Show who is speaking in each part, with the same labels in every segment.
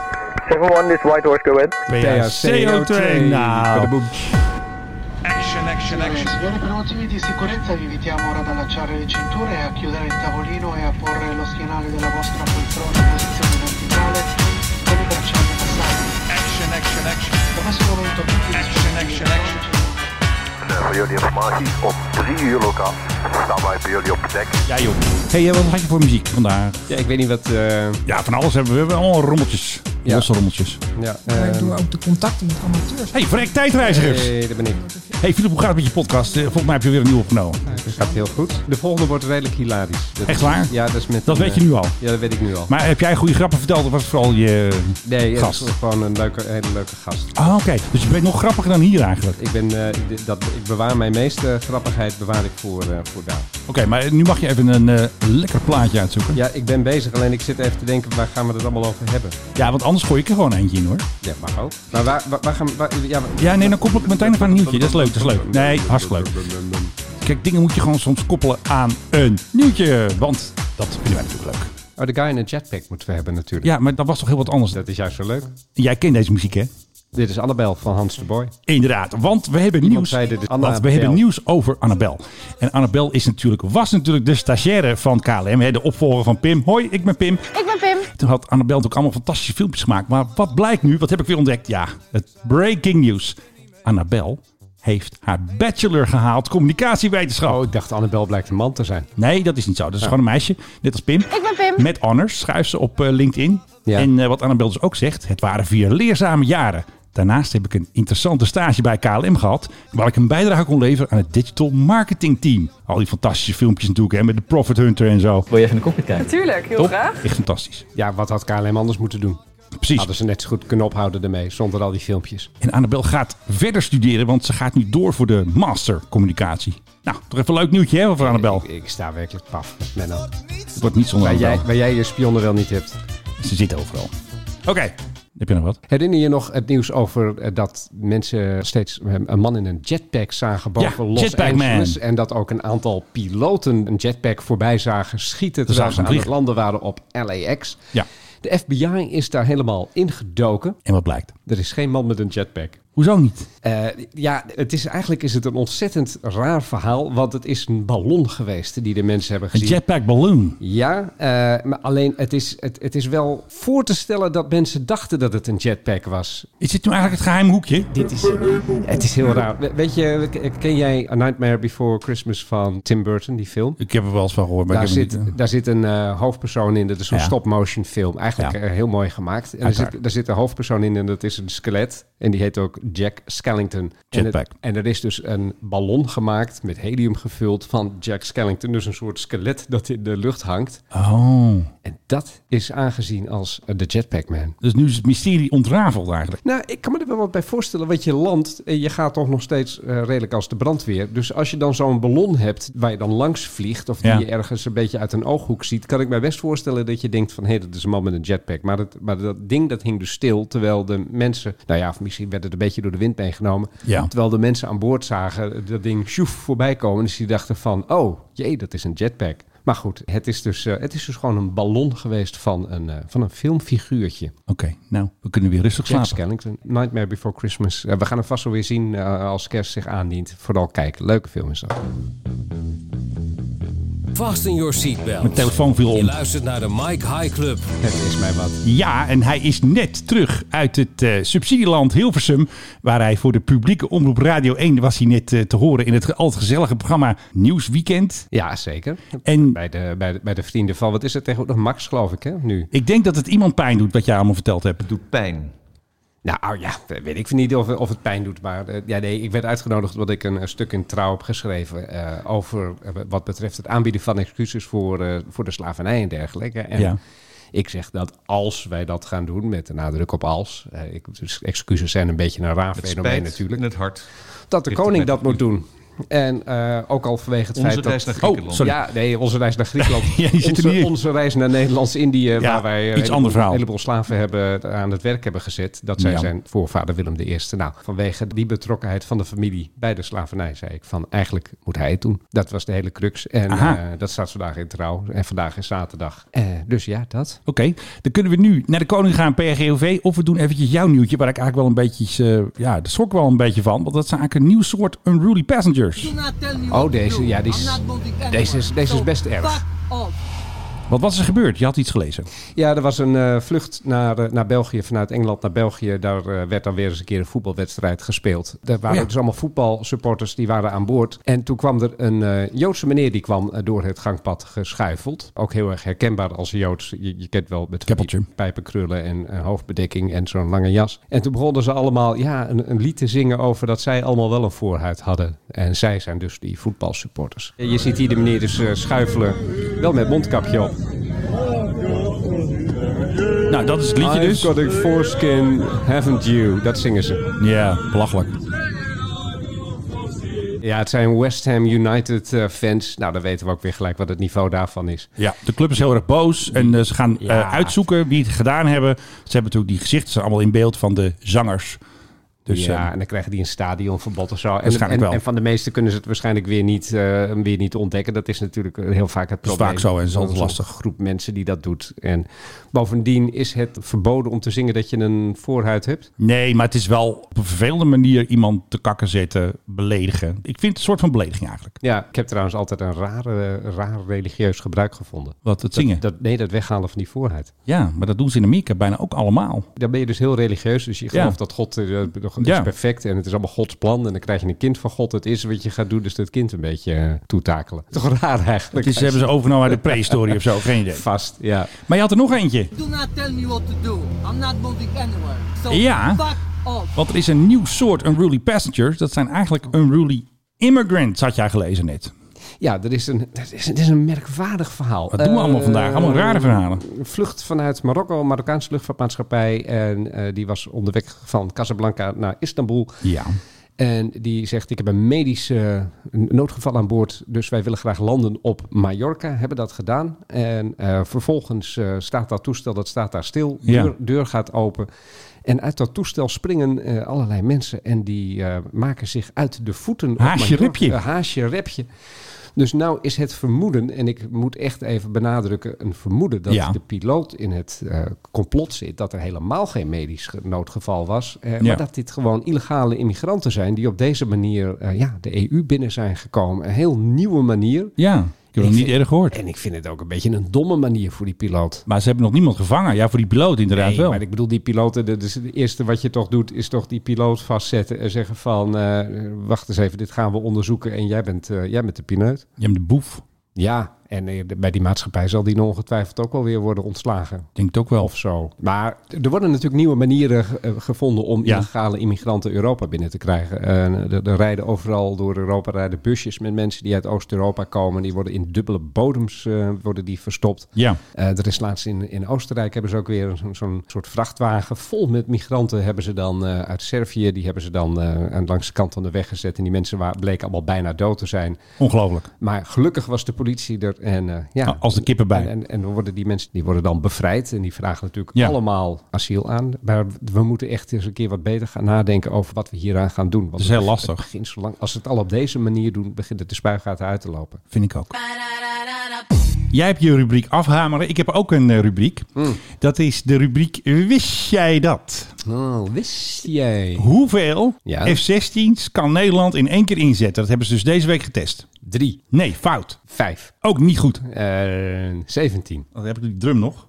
Speaker 1: 7-1, this white horse, go ahead.
Speaker 2: BHCO2. Nou.
Speaker 3: Badaboom.
Speaker 4: Action, action, action.
Speaker 5: Attenzione per motivi di sicurezza vi invitiamo ora ad allacciare le cinture e a chiudere il tavolino e a porre lo schienale della vostra poltrona in posizione verticale con i bracciali passati.
Speaker 4: Action, action, action.
Speaker 5: Da questo momento tutti i
Speaker 4: Action, action, action.
Speaker 6: voor jullie informatie. Om 3 uur lokaal staan wij bij jullie op het dek.
Speaker 2: Ja joh.
Speaker 3: Hey, eh, wat had je voor muziek vandaag?
Speaker 7: Ja, ik weet niet wat... eh,
Speaker 2: Ja, van alles hebben we. We hebben allemaal rommeltjes.
Speaker 7: Ja.
Speaker 3: Losse rommeltjes.
Speaker 7: ja,
Speaker 8: Maar
Speaker 7: eh,
Speaker 8: ik doe ook de contacten met amateurs.
Speaker 2: Hey, Frank Tijdreizigers. Hey.
Speaker 7: nee, dat ben ik.
Speaker 2: Philip, hoe gaat het met je podcast? Eh, Volgens mij heb je weer een nieuw opgenomen.
Speaker 8: Dus.
Speaker 7: Het gaat heel goed. De volgende wordt redelijk hilarisch. Dat-
Speaker 2: Echt waar?
Speaker 7: Ja, dat is met...
Speaker 2: Dat
Speaker 7: een,
Speaker 2: weet je
Speaker 7: eh,
Speaker 2: nu al.
Speaker 7: Ja, dat weet ik nu al.
Speaker 2: Maar heb jij goede grappen verteld of was het vooral je...
Speaker 7: nee, het
Speaker 2: gast.
Speaker 7: is gewoon een leuke, hele leuke gast.
Speaker 2: Ah, oké. Dus je bent nog grappiger dan hier eigenlijk.
Speaker 7: Ik, ben, eh, dit- dat, ik bewaar mijn meeste grappigheid bewaar ik voor, eh, voor daar.
Speaker 2: Oké, maar nu mag je even een eh, lekker plaatje uitzoeken. Ja.
Speaker 7: Ja, ik ben bezig, alleen ik zit even te denken, waar gaan we het allemaal over hebben?
Speaker 2: want anders gooi ik er gewoon eentje in hoor.
Speaker 7: Ja, mag ook. Maar waar, waar, waar gaan we... waar- ja, maar-
Speaker 2: Ja, nee, dan koppel ik meteen even aan een nieuwtje. Dat is leuk, dat is leuk. Nee, hartstikke leuk. Kijk, dingen moet je gewoon soms koppelen aan een nieuwtje. Want dat vinden wij natuurlijk leuk.
Speaker 7: Oh, de guy in een jetpack moeten we hebben natuurlijk.
Speaker 2: Ja, maar dat was toch heel wat anders.
Speaker 7: Dat is juist zo leuk.
Speaker 2: Jij kent deze muziek, hè?
Speaker 7: Dit is Annabel van Hans de Boy.
Speaker 2: Inderdaad, want we hebben nieuws.
Speaker 7: zei dit is
Speaker 2: want we
Speaker 7: Annabel.
Speaker 2: hebben nieuws over Annabel. En Annabel is natuurlijk, was natuurlijk de stagiaire van KLM, hè, de opvolger van Pim. Hoi, ik ben Pim.
Speaker 9: Ik ben Pim.
Speaker 2: Toen had Annabel natuurlijk allemaal fantastische filmpjes gemaakt. Maar wat blijkt nu? Wat heb ik weer ontdekt? Ja, het breaking news. Annabel heeft haar bachelor gehaald communicatiewetenschap.
Speaker 7: Oh, ik dacht Annabel blijkt een man te zijn.
Speaker 2: Nee, dat is niet zo.
Speaker 7: Oh.
Speaker 2: Dat is gewoon een meisje, net als Pim.
Speaker 9: Ik ben Pim.
Speaker 2: Met honors, schrijft ze op eh, LinkedIn.
Speaker 7: Ja.
Speaker 2: En eh, wat Annabel dus ook zegt, het waren vier leerzame jaren. Daarnaast heb ik een interessante stage bij KLM gehad, waar ik een bijdrage kon leveren aan het digital marketing team. Al die fantastische filmpjes natuurlijk, hè, met de Profit Hunter en zo.
Speaker 10: Wil je even in de cockpit kijken?
Speaker 9: Tuurlijk, heel
Speaker 2: Top.
Speaker 9: graag.
Speaker 2: Echt fantastisch.
Speaker 7: Ja, wat had KLM anders moeten doen?
Speaker 2: Precies.
Speaker 7: Hadden ze net zo goed kunnen ophouden ermee, zonder al die filmpjes.
Speaker 2: En Annabel gaat verder studeren, want ze gaat nu door voor de master communicatie. Nou, toch even een leuk nieuwtje hè, over Annabel.
Speaker 7: Ik, ik sta werkelijk paf, Menno.
Speaker 2: Het wordt niet zonder
Speaker 7: Waar jij,
Speaker 2: Annabel.
Speaker 7: waar jij je spionnen wel niet hebt.
Speaker 2: Ze zit overal. Oké, heb je nog wat?
Speaker 7: Herinner je nog het nieuws over eh, dat mensen steeds eh, een man in een jetpack zagen boven
Speaker 2: Ja,
Speaker 7: Los
Speaker 2: jetpack
Speaker 7: Angeles?
Speaker 2: man.
Speaker 7: En dat ook een aantal piloten een jetpack voorbij zagen schieten terwijl
Speaker 2: zagen
Speaker 7: ze
Speaker 2: hem
Speaker 7: aan het
Speaker 2: vliegen.
Speaker 7: landen waren op LAX.
Speaker 2: Ja,
Speaker 7: De FBI is daar helemaal ingedoken.
Speaker 2: en wat blijkt?
Speaker 7: Er is geen man met een jetpack.
Speaker 2: Hoezo niet?
Speaker 7: Eh, ja, het is, eigenlijk is het een ontzettend raar verhaal, want het is een ballon geweest die de mensen hebben
Speaker 2: Een
Speaker 7: gezien.
Speaker 2: jetpack balloon.
Speaker 7: Ja, eh, maar alleen het is, het, het is wel voor te stellen dat mensen dachten dat het een jetpack was.
Speaker 2: Is dit nu eigenlijk het geheim hoekje?
Speaker 7: Dit is, het is heel raar. We- weet je, k- ken jij A Nightmare Before Christmas van Tim Burton, die film?
Speaker 2: Ik heb er wel eens van gehoord, maar
Speaker 7: Daar
Speaker 2: ik heb
Speaker 7: zit,
Speaker 2: hem niet...
Speaker 7: daar zit een eh, hoofdpersoon in. Dat is een
Speaker 2: Ja.
Speaker 7: stop-motion film. Eigenlijk
Speaker 2: Ja.
Speaker 7: eh, heel mooi gemaakt. En daar
Speaker 2: Uiteraard.
Speaker 7: zit, daar zit een hoofdpersoon in en dat is een skelet. En die heet ook Jack Skellington. En, het-
Speaker 2: Jetpack.
Speaker 7: en er is dus een ballon gemaakt met helium gevuld van Jack Skellington. Dus een soort skelet dat in de lucht hangt.
Speaker 2: Oh,
Speaker 7: En dat is aangezien als eh, de Jetpack Man.
Speaker 2: dus nu is het mysterie ontrafeld eigenlijk.
Speaker 7: Nou, ik kan me er wel wat bij voorstellen, want je landt en je gaat toch nog steeds eh, redelijk als de brandweer. Dus als je dan zo'n ballon hebt waar je dan langs vliegt of die
Speaker 2: Ja.
Speaker 7: je ergens een beetje uit een ooghoek ziet, kan ik mij best voorstellen dat je denkt van hé, dat is een man met een jetpack. Maar, het, maar dat ding dat hing dus stil, terwijl de mensen, nou ja, of misschien werd het een beetje door de wind meegenomen,
Speaker 2: Ja.
Speaker 7: terwijl de mensen aan boord zagen eh, dat ding sjoef voorbij komen. Dus die dachten van oh, jee, dat is een jetpack. Maar goed, het is dus, eh, het is dus gewoon een ballon geweest van een, eh, van een filmfiguurtje.
Speaker 2: Oké, nou, we kunnen weer rustig
Speaker 7: Jack
Speaker 2: slapen.
Speaker 7: Skellington, Nightmare Before Christmas. Eh, we gaan hem vast wel weer zien eh, als kerst zich aandient. Vooral kijken. Leuke film is dat.
Speaker 10: Vast in your seatbelt.
Speaker 2: Mijn telefoon viel
Speaker 10: Je
Speaker 2: om.
Speaker 10: luistert naar de Mike High Club.
Speaker 7: Het is mij wat.
Speaker 2: Ja, en hij is net terug uit het eh, subsidieland Hilversum, waar hij voor de publieke omroep Radio 1 was hij net eh, te horen in het ge- al het gezellige programma Nieuwsweekend.
Speaker 7: Ja, zeker.
Speaker 2: En
Speaker 7: Bij de, bij, de, bij de vrienden van, wat is het tegenwoordig? Max, geloof ik, hè, nu.
Speaker 2: ik denk dat het iemand pijn doet wat jij allemaal verteld hebt.
Speaker 10: Doet pijn.
Speaker 7: Nou oh ja, weet ik niet of, of het pijn doet. Maar eh, ja, nee, ik werd uitgenodigd omdat ik een, eh, stuk in Trouw heb geschreven... eh, over eh, wat betreft het aanbieden van excuses voor, eh, voor de slavernij en dergelijke. En
Speaker 2: Ja. Oh,
Speaker 7: Ik zeg dat als wij dat gaan doen, met de nadruk op als... eh, ik, dus excuses zijn een beetje een raar fenomeen natuurlijk.
Speaker 10: het hart.
Speaker 7: Dat de
Speaker 10: Ligt
Speaker 7: koning
Speaker 10: erbij.
Speaker 7: dat moet doen. En eh, ook al vanwege het
Speaker 1: Onze
Speaker 7: feit dat...
Speaker 1: reis naar Griekenland.
Speaker 7: Oh, sorry. Ja, nee, onze reis naar Griekenland.
Speaker 2: Ja, je zit er niet
Speaker 7: onze,
Speaker 2: in.
Speaker 7: onze reis naar Nederlands-Indië, waar wij
Speaker 2: iets
Speaker 7: een heleboel-
Speaker 2: ander verhaal.
Speaker 7: een heleboel slaven hebben, eh, aan het werk hebben gezet. Dat zei
Speaker 2: Ja.
Speaker 7: zijn voorvader Willem I. Nou, vanwege die betrokkenheid van de familie bij de slavernij, zei ik van eigenlijk moet hij het doen. Dat was de hele crux. En
Speaker 2: Aha.
Speaker 7: eh, dat staat vandaag in trouw. En vandaag is zaterdag. Eh, dus ja, dat.
Speaker 2: Oké, dan kunnen we nu naar de koning gaan, PRGOV. Of we doen eventjes jouw nieuwtje, waar ik eigenlijk wel een beetje... eh, ja, daar schrok ik wel een beetje van. Want dat zijn eigenlijk een nieuw soort unruly passengers.
Speaker 7: Oh, deze, ja, die is, deze, is, deze is best erg.
Speaker 2: Wat was er gebeurd? Je had iets gelezen.
Speaker 7: Ja, er was een eh, vlucht naar, eh, naar België, vanuit Engeland naar België. Daar eh, werd dan weer eens een keer een voetbalwedstrijd gespeeld. Daar
Speaker 2: Oh
Speaker 7: waren
Speaker 2: ja.
Speaker 7: dus allemaal voetbalsupporters die waren aan boord. En toen kwam er een eh, Joodse meneer die kwam eh, door het gangpad geschuifeld. Ook heel erg herkenbaar als een Joods. Je, je kent wel met van die
Speaker 2: Keppeltje.
Speaker 7: pijpenkrullen en eh, hoofdbedekking en zo'n lange jas. En toen begonnen ze allemaal ja, een, een lied te zingen over dat zij allemaal wel een voorhuid hadden. En zij zijn dus die voetbalsupporters. Je ziet hier de meneer dus eh, schuifelen, wel met mondkapje op.
Speaker 2: Nou, dat is het liedje
Speaker 7: I've
Speaker 2: dus.
Speaker 7: got a foreskin, haven't you? Dat zingen ze.
Speaker 2: Ja, belachelijk.
Speaker 7: Ja, het zijn West Ham United eh, fans. Nou, dan weten we ook weer gelijk wat het niveau daarvan is.
Speaker 2: Ja, de club is heel erg boos en eh, ze gaan eh,
Speaker 7: Ja.
Speaker 2: uitzoeken wie het gedaan hebben. Ze hebben natuurlijk die gezichten zijn allemaal in beeld van de zangers. Dus
Speaker 7: ja,
Speaker 2: ja,
Speaker 7: en dan krijgen die een stadionverbod of zo. En,
Speaker 2: Waarschijnlijk
Speaker 7: en,
Speaker 2: wel.
Speaker 7: en van de meesten kunnen ze het waarschijnlijk weer niet, eh, weer niet ontdekken. Dat is natuurlijk eh, heel vaak het
Speaker 2: Dat is
Speaker 7: probleem.
Speaker 2: vaak zo en is
Speaker 7: Van
Speaker 2: altijd
Speaker 7: zo'n
Speaker 2: lastig.
Speaker 7: groep mensen die dat doet. En bovendien is het verboden om te zingen dat je een voorhuid hebt.
Speaker 2: nee, maar het is wel op een vervelende manier iemand te kakken zetten, beledigen. Ik vind het een soort van belediging eigenlijk.
Speaker 7: Ja, ik heb trouwens altijd een rare, raar religieus gebruik gevonden.
Speaker 2: Wat het zingen.
Speaker 7: Dat, nee, dat weghalen van die voorhuid.
Speaker 2: ja, maar dat doen ze in Amerika bijna ook allemaal.
Speaker 7: Dan ben je dus heel religieus. Dus je gelooft
Speaker 2: Ja.
Speaker 7: dat God eh, eh, nog- is
Speaker 2: Ja.
Speaker 7: perfect en het is allemaal Gods plan. En dan krijg je een kind van God. Het is wat je gaat doen, dus dat kind een beetje eh, toetakelen. Toch raar
Speaker 2: Het
Speaker 7: eigenlijk.
Speaker 2: is, eh, hebben ze overgenomen uit de prehistorie of zo, geen idee.
Speaker 7: vast, ja.
Speaker 2: Maar je had er nog eentje.
Speaker 9: Do not tell me what to do. I'm not moving anywhere. So
Speaker 2: Ja.
Speaker 9: fuck off.
Speaker 2: Want er is een nieuw soort unruly passengers. Dat zijn eigenlijk unruly immigrants, had jij gelezen net.
Speaker 7: Ja, er is een, het is, het is een merkwaardig verhaal.
Speaker 2: Wat doen we allemaal
Speaker 7: Eh,
Speaker 2: vandaag? Allemaal rare verhalen.
Speaker 7: Een vlucht vanuit Marokko, een Marokkaanse luchtvaartmaatschappij. En eh, die was onderweg van Casablanca naar Istanbul.
Speaker 2: Ja.
Speaker 7: En die zegt, ik heb een medisch eh, noodgeval aan boord, dus wij willen graag landen op Mallorca. Hebben dat gedaan. En eh, vervolgens eh, staat dat toestel, dat staat daar stil.
Speaker 2: Ja.
Speaker 7: Deur, deur gaat open. En uit dat toestel springen eh, allerlei mensen en die eh, maken zich uit de voeten. op
Speaker 2: Haasje
Speaker 7: Mallorca.
Speaker 2: repje.
Speaker 7: Eh, haasje repje. Dus nou is het vermoeden, en ik moet echt even benadrukken, een vermoeden dat
Speaker 2: Ja.
Speaker 7: de piloot in het eh, complot zit, dat er helemaal geen medisch ge- noodgeval was, eh,
Speaker 2: Ja.
Speaker 7: maar dat dit gewoon illegale immigranten zijn die op deze manier eh, ja, de EU binnen zijn gekomen. Een heel nieuwe manier.
Speaker 2: Ja, ik heb het niet
Speaker 7: vind-
Speaker 2: eerder gehoord.
Speaker 7: En ik vind het ook een beetje een domme manier voor die piloot.
Speaker 2: Maar ze hebben nog niemand gevangen. Ja, voor die piloot inderdaad
Speaker 7: Nee,
Speaker 2: wel.
Speaker 7: maar ik bedoel, die piloten, dat is het eerste wat je toch doet, is toch die piloot vastzetten en zeggen van, eh, wacht eens even, dit gaan we onderzoeken en jij bent, eh, jij bent de pineut.
Speaker 2: Je hebt de boef.
Speaker 7: Ja, en eh, de- bij die maatschappij zal die nog ongetwijfeld ook wel weer worden ontslagen.
Speaker 2: Ik denk het ook wel.
Speaker 7: Of zo. Maar er worden natuurlijk nieuwe manieren eh, gevonden om
Speaker 2: Ja.
Speaker 7: illegale immigranten Europa binnen te krijgen. Eh, er, er rijden overal door Europa rijden busjes met mensen die uit Oost-Europa komen. Die worden in dubbele bodems eh, worden die verstopt.
Speaker 2: Ja.
Speaker 7: Eh, er is laatst in, in Oostenrijk hebben ze ook weer zo'n zo'n soort vrachtwagen vol met migranten hebben ze dan eh, uit Servië. Die hebben ze dan eh, aan langs de kant van de weg gezet. En die mensen wa- bleken allemaal bijna dood te zijn.
Speaker 2: Ongelooflijk.
Speaker 7: Maar gelukkig was de politie er. En, eh, ja,
Speaker 2: Als de kippen bij.
Speaker 7: En, en, en dan worden die mensen die worden dan bevrijd. En die vragen natuurlijk
Speaker 2: Ja.
Speaker 7: allemaal asiel aan. Maar we moeten echt eens een keer wat beter gaan nadenken over wat we hieraan gaan doen. Want
Speaker 2: Dat is heel
Speaker 7: het-
Speaker 2: lastig.
Speaker 7: het begint zo lang, als we het al op deze manier doen, begint het de spuigaten uit te lopen.
Speaker 2: Vind ik ook. Jij hebt je rubriek afhameren. Ik heb ook een eh, rubriek.
Speaker 7: Hmm.
Speaker 2: Dat is de rubriek Wist jij dat?
Speaker 7: Oh, wist jij?
Speaker 2: Hoeveel
Speaker 7: Ja.
Speaker 2: F-16's kan Nederland in één keer inzetten? Dat hebben ze dus deze week getest.
Speaker 7: Drie,
Speaker 2: Nee, fout.
Speaker 7: vijf,
Speaker 2: Ook niet goed. Oh,
Speaker 7: eh, zeventien.
Speaker 2: Dan heb ik die drum nog.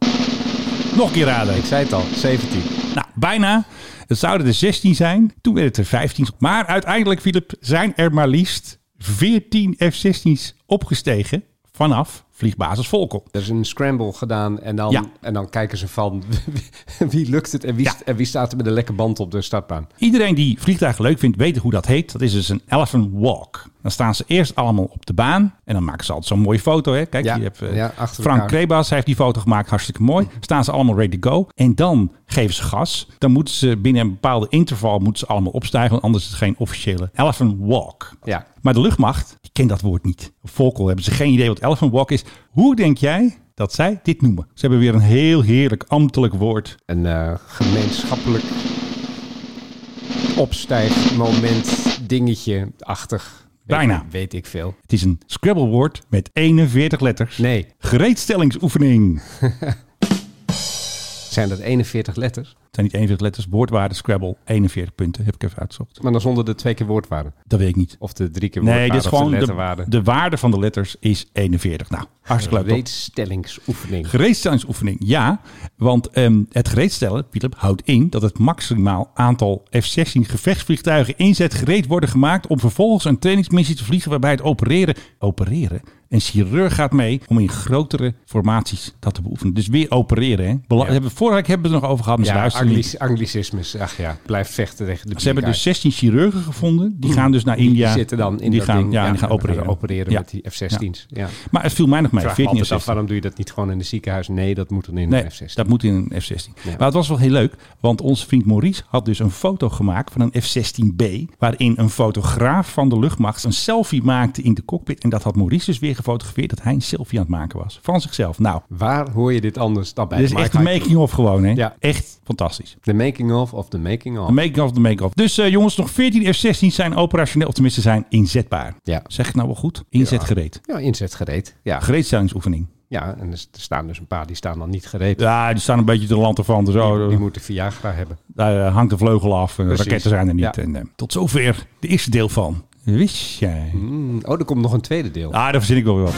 Speaker 2: Nog een keer raden.
Speaker 7: Ik zei het al, zeventien.
Speaker 2: Nou, bijna. Het zouden er 16 zijn. Toen werden het er 15. Maar uiteindelijk, Philip, zijn er maar liefst 14 F-16's opgestegen vanaf vliegbasis Volkel.
Speaker 7: Er is een scramble gedaan en dan,
Speaker 2: Ja.
Speaker 7: en dan kijken ze van wie lukt het en wie,
Speaker 2: Ja.
Speaker 7: st- en wie staat er met een lekke band op de startbaan.
Speaker 2: Iedereen die vliegtuigen leuk vindt, weet hoe dat heet. Dat is dus een elephant walk. Dan staan ze eerst allemaal op de baan. En dan maken ze altijd zo'n mooie foto. Hè? Kijk,
Speaker 7: Ja,
Speaker 2: je hebt, eh,
Speaker 7: ja, achter
Speaker 2: Frank
Speaker 7: elkaar. Mm.
Speaker 2: Krebas hij heeft die foto gemaakt. Hartstikke mooi. Staan ze allemaal ready to go. En dan geven ze gas. Dan moeten ze binnen een bepaalde interval moeten ze allemaal opstijgen. Want anders is het geen officiële elephant walk.
Speaker 7: Ja.
Speaker 2: Maar de luchtmacht, ik ken dat woord niet. Op Volkel hebben ze geen idee wat elephant walk is. Hoe denk jij dat zij dit noemen? Ze hebben weer een heel heerlijk ambtelijk woord.
Speaker 7: Een eh, gemeenschappelijk opstijgmoment dingetje-achtig. Weet-
Speaker 2: Bijna.
Speaker 7: weet ik veel.
Speaker 2: Het is een Scrabble-woord met 41 letters.
Speaker 7: Nee,
Speaker 2: Gereedstellingsoefening.
Speaker 7: zijn dat 41 letters?
Speaker 2: Het zijn niet 41 letters, woordwaarde, Scrabble, 41 punten. Heb ik even uitgezocht.
Speaker 7: Maar dan zonder de twee keer woordwaarde.
Speaker 2: Dat weet ik niet.
Speaker 7: Of de drie keer
Speaker 2: Nee,
Speaker 7: woordwaarde
Speaker 2: dit is
Speaker 7: of de
Speaker 2: gewoon de,
Speaker 7: letterwaarde.
Speaker 2: de waarde van de letters is 41. Nou, hartstikke leuk. toch?
Speaker 7: Reedstellingsoefening.
Speaker 2: Gereedstellingsoefening, ja. Want ehm, het gereedstellen, Philip, houdt in dat het maximaal aantal F-16 gevechtsvliegtuigen inzet gereed worden gemaakt om vervolgens een trainingsmissie te vliegen waarbij het opereren, opereren, een chirurg gaat mee om in grotere formaties dat te beoefenen. Dus weer opereren, hè. Bela-
Speaker 7: Ja.
Speaker 2: hebben, vorige week hebben we het er nog over gehad, maar ze
Speaker 7: Ja,
Speaker 2: luisteren niet.
Speaker 7: Anglic- anglicismes. Ach ja, blijf vechten tegen de
Speaker 2: Ze hebben
Speaker 7: bierkaart.
Speaker 2: dus 16 chirurgen gevonden. Die gaan dus naar
Speaker 7: Hmm. Die
Speaker 2: India.
Speaker 7: zitten dan in
Speaker 2: die
Speaker 7: dat
Speaker 2: gaan,
Speaker 7: ding.
Speaker 2: Ja, die gaan
Speaker 7: en
Speaker 2: opereren.
Speaker 7: opereren
Speaker 2: Ja.
Speaker 7: met die F-16's. Ja. Ik
Speaker 2: Maar het viel mij nog mee.
Speaker 7: Vraag me
Speaker 2: 14
Speaker 7: altijd
Speaker 2: F-16.
Speaker 7: af, waarom doe je dat niet gewoon in een ziekenhuis? Nee, dat moet dan in
Speaker 2: Nee,
Speaker 7: een F-16.
Speaker 2: dat moet in een F-16. Maar het was wel heel leuk, want onze vriend Maurice had dus een foto gemaakt van een F-16B, waarin een fotograaf van de luchtmacht een selfie maakte in de cockpit. En dat had Maurice dus weer gefotografeerd, dat hij een selfie aan het maken was van zichzelf. Nou,
Speaker 7: Waar hoor je dit anders dan bij
Speaker 2: dit is
Speaker 7: Mike
Speaker 2: echt een
Speaker 7: High Club?
Speaker 2: making-of gewoon, hè?
Speaker 7: Ja.
Speaker 2: Echt fantastisch.
Speaker 7: De making of of de making of.
Speaker 2: De making of de making of. Dus eh, jongens, nog 14 F-16 zijn operationeel, of tenminste zijn inzetbaar.
Speaker 7: Ja.
Speaker 2: Zeg ik nou wel goed? Inzet gereed.
Speaker 7: ja, inzet gereed. Ja.
Speaker 2: Gereedstellingsoefening.
Speaker 7: ja, en er staan dus een paar die staan dan niet gereed.
Speaker 2: Ja, die staan een beetje te land ervan. Dus,
Speaker 7: Die,
Speaker 2: oh,
Speaker 7: die moeten Viagra hebben.
Speaker 2: daar eh, hangt de vleugel af. en
Speaker 7: Precies.
Speaker 2: raketten zijn er niet.
Speaker 7: Ja.
Speaker 2: En, eh, tot zover de eerste deel van. Wist jij?
Speaker 7: Mm, Oh, er komt nog een tweede deel.
Speaker 2: Ah, daar verzin ik wel weer wat.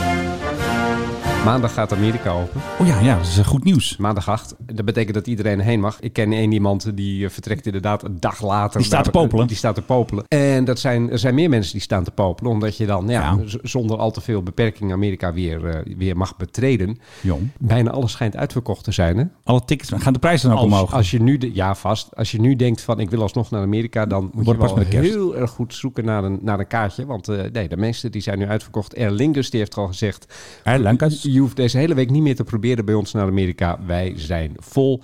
Speaker 7: Maandag gaat Amerika open.
Speaker 2: Oh ja, ja, dat is eh, goed nieuws.
Speaker 7: Maandag 8. Dat betekent dat iedereen heen mag. Ik ken één iemand die eh, vertrekt inderdaad een dag later.
Speaker 2: Die staat te
Speaker 7: Daar-
Speaker 2: popelen.
Speaker 7: Die staat te popelen. En dat zijn, er zijn meer mensen die staan te popelen. Omdat je dan ja,
Speaker 2: Ja.
Speaker 7: z- zonder al te veel beperking Amerika weer, eh, weer mag betreden.
Speaker 2: Jong.
Speaker 7: Bijna alles schijnt uitverkocht te zijn. Hè?
Speaker 2: Alle tickets, gaan de prijzen dan ook
Speaker 7: Als,
Speaker 2: omhoog?
Speaker 7: als je nu, de, ja vast, als je nu denkt van ik wil alsnog naar Amerika, dan moet
Speaker 2: Wordt
Speaker 7: je
Speaker 2: pas
Speaker 7: wel
Speaker 2: met kerst.
Speaker 7: heel erg goed zoeken naar een, naar een kaartje. Want eh, nee, de meeste die zijn nu uitverkocht. Aer Lingus die heeft al gezegd,
Speaker 2: Hè, Lankas?
Speaker 7: je hoeft deze hele week niet meer te proberen bij ons naar Amerika. Wij zijn vol.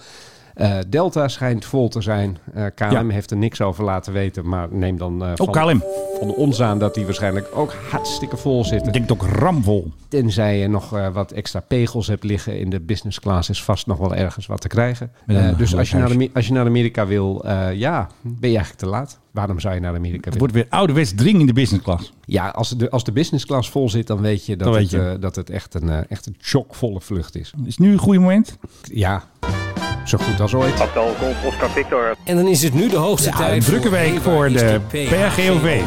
Speaker 7: Eh, Delta schijnt vol te zijn. Eh, KLM
Speaker 2: Ja.
Speaker 7: heeft er niks over laten weten, maar neem dan eh,
Speaker 2: Oh, KLM.
Speaker 7: van ons aan dat die waarschijnlijk ook hartstikke vol zitten.
Speaker 2: Ik denk het ook ramvol.
Speaker 7: Tenzij je nog eh, wat extra pegels hebt liggen in de business class, is vast nog wel ergens wat te krijgen.
Speaker 2: Met een
Speaker 7: Eh, dus
Speaker 2: leuk
Speaker 7: als je,
Speaker 2: huis.
Speaker 7: naar Ame- als je naar Amerika wil, eh, ja, ben je eigenlijk te laat. Waarom zou je naar Amerika
Speaker 2: Het
Speaker 7: willen?
Speaker 2: wordt weer ouderwets dringend in de business class.
Speaker 7: Ja, als de, als de business class vol zit, dan weet je dat,
Speaker 2: Dan weet
Speaker 7: het,
Speaker 2: je.
Speaker 7: eh, dat het echt een, eh, echt een chockvolle vlucht is.
Speaker 2: Is nu een goed moment?
Speaker 7: Ja, zo goed als ooit.
Speaker 10: En dan is het nu de hoogste
Speaker 2: Ja,
Speaker 10: tijd.
Speaker 2: een drukke week
Speaker 10: Hey,
Speaker 2: voor
Speaker 10: waar is
Speaker 2: de
Speaker 10: die
Speaker 2: PRGOV.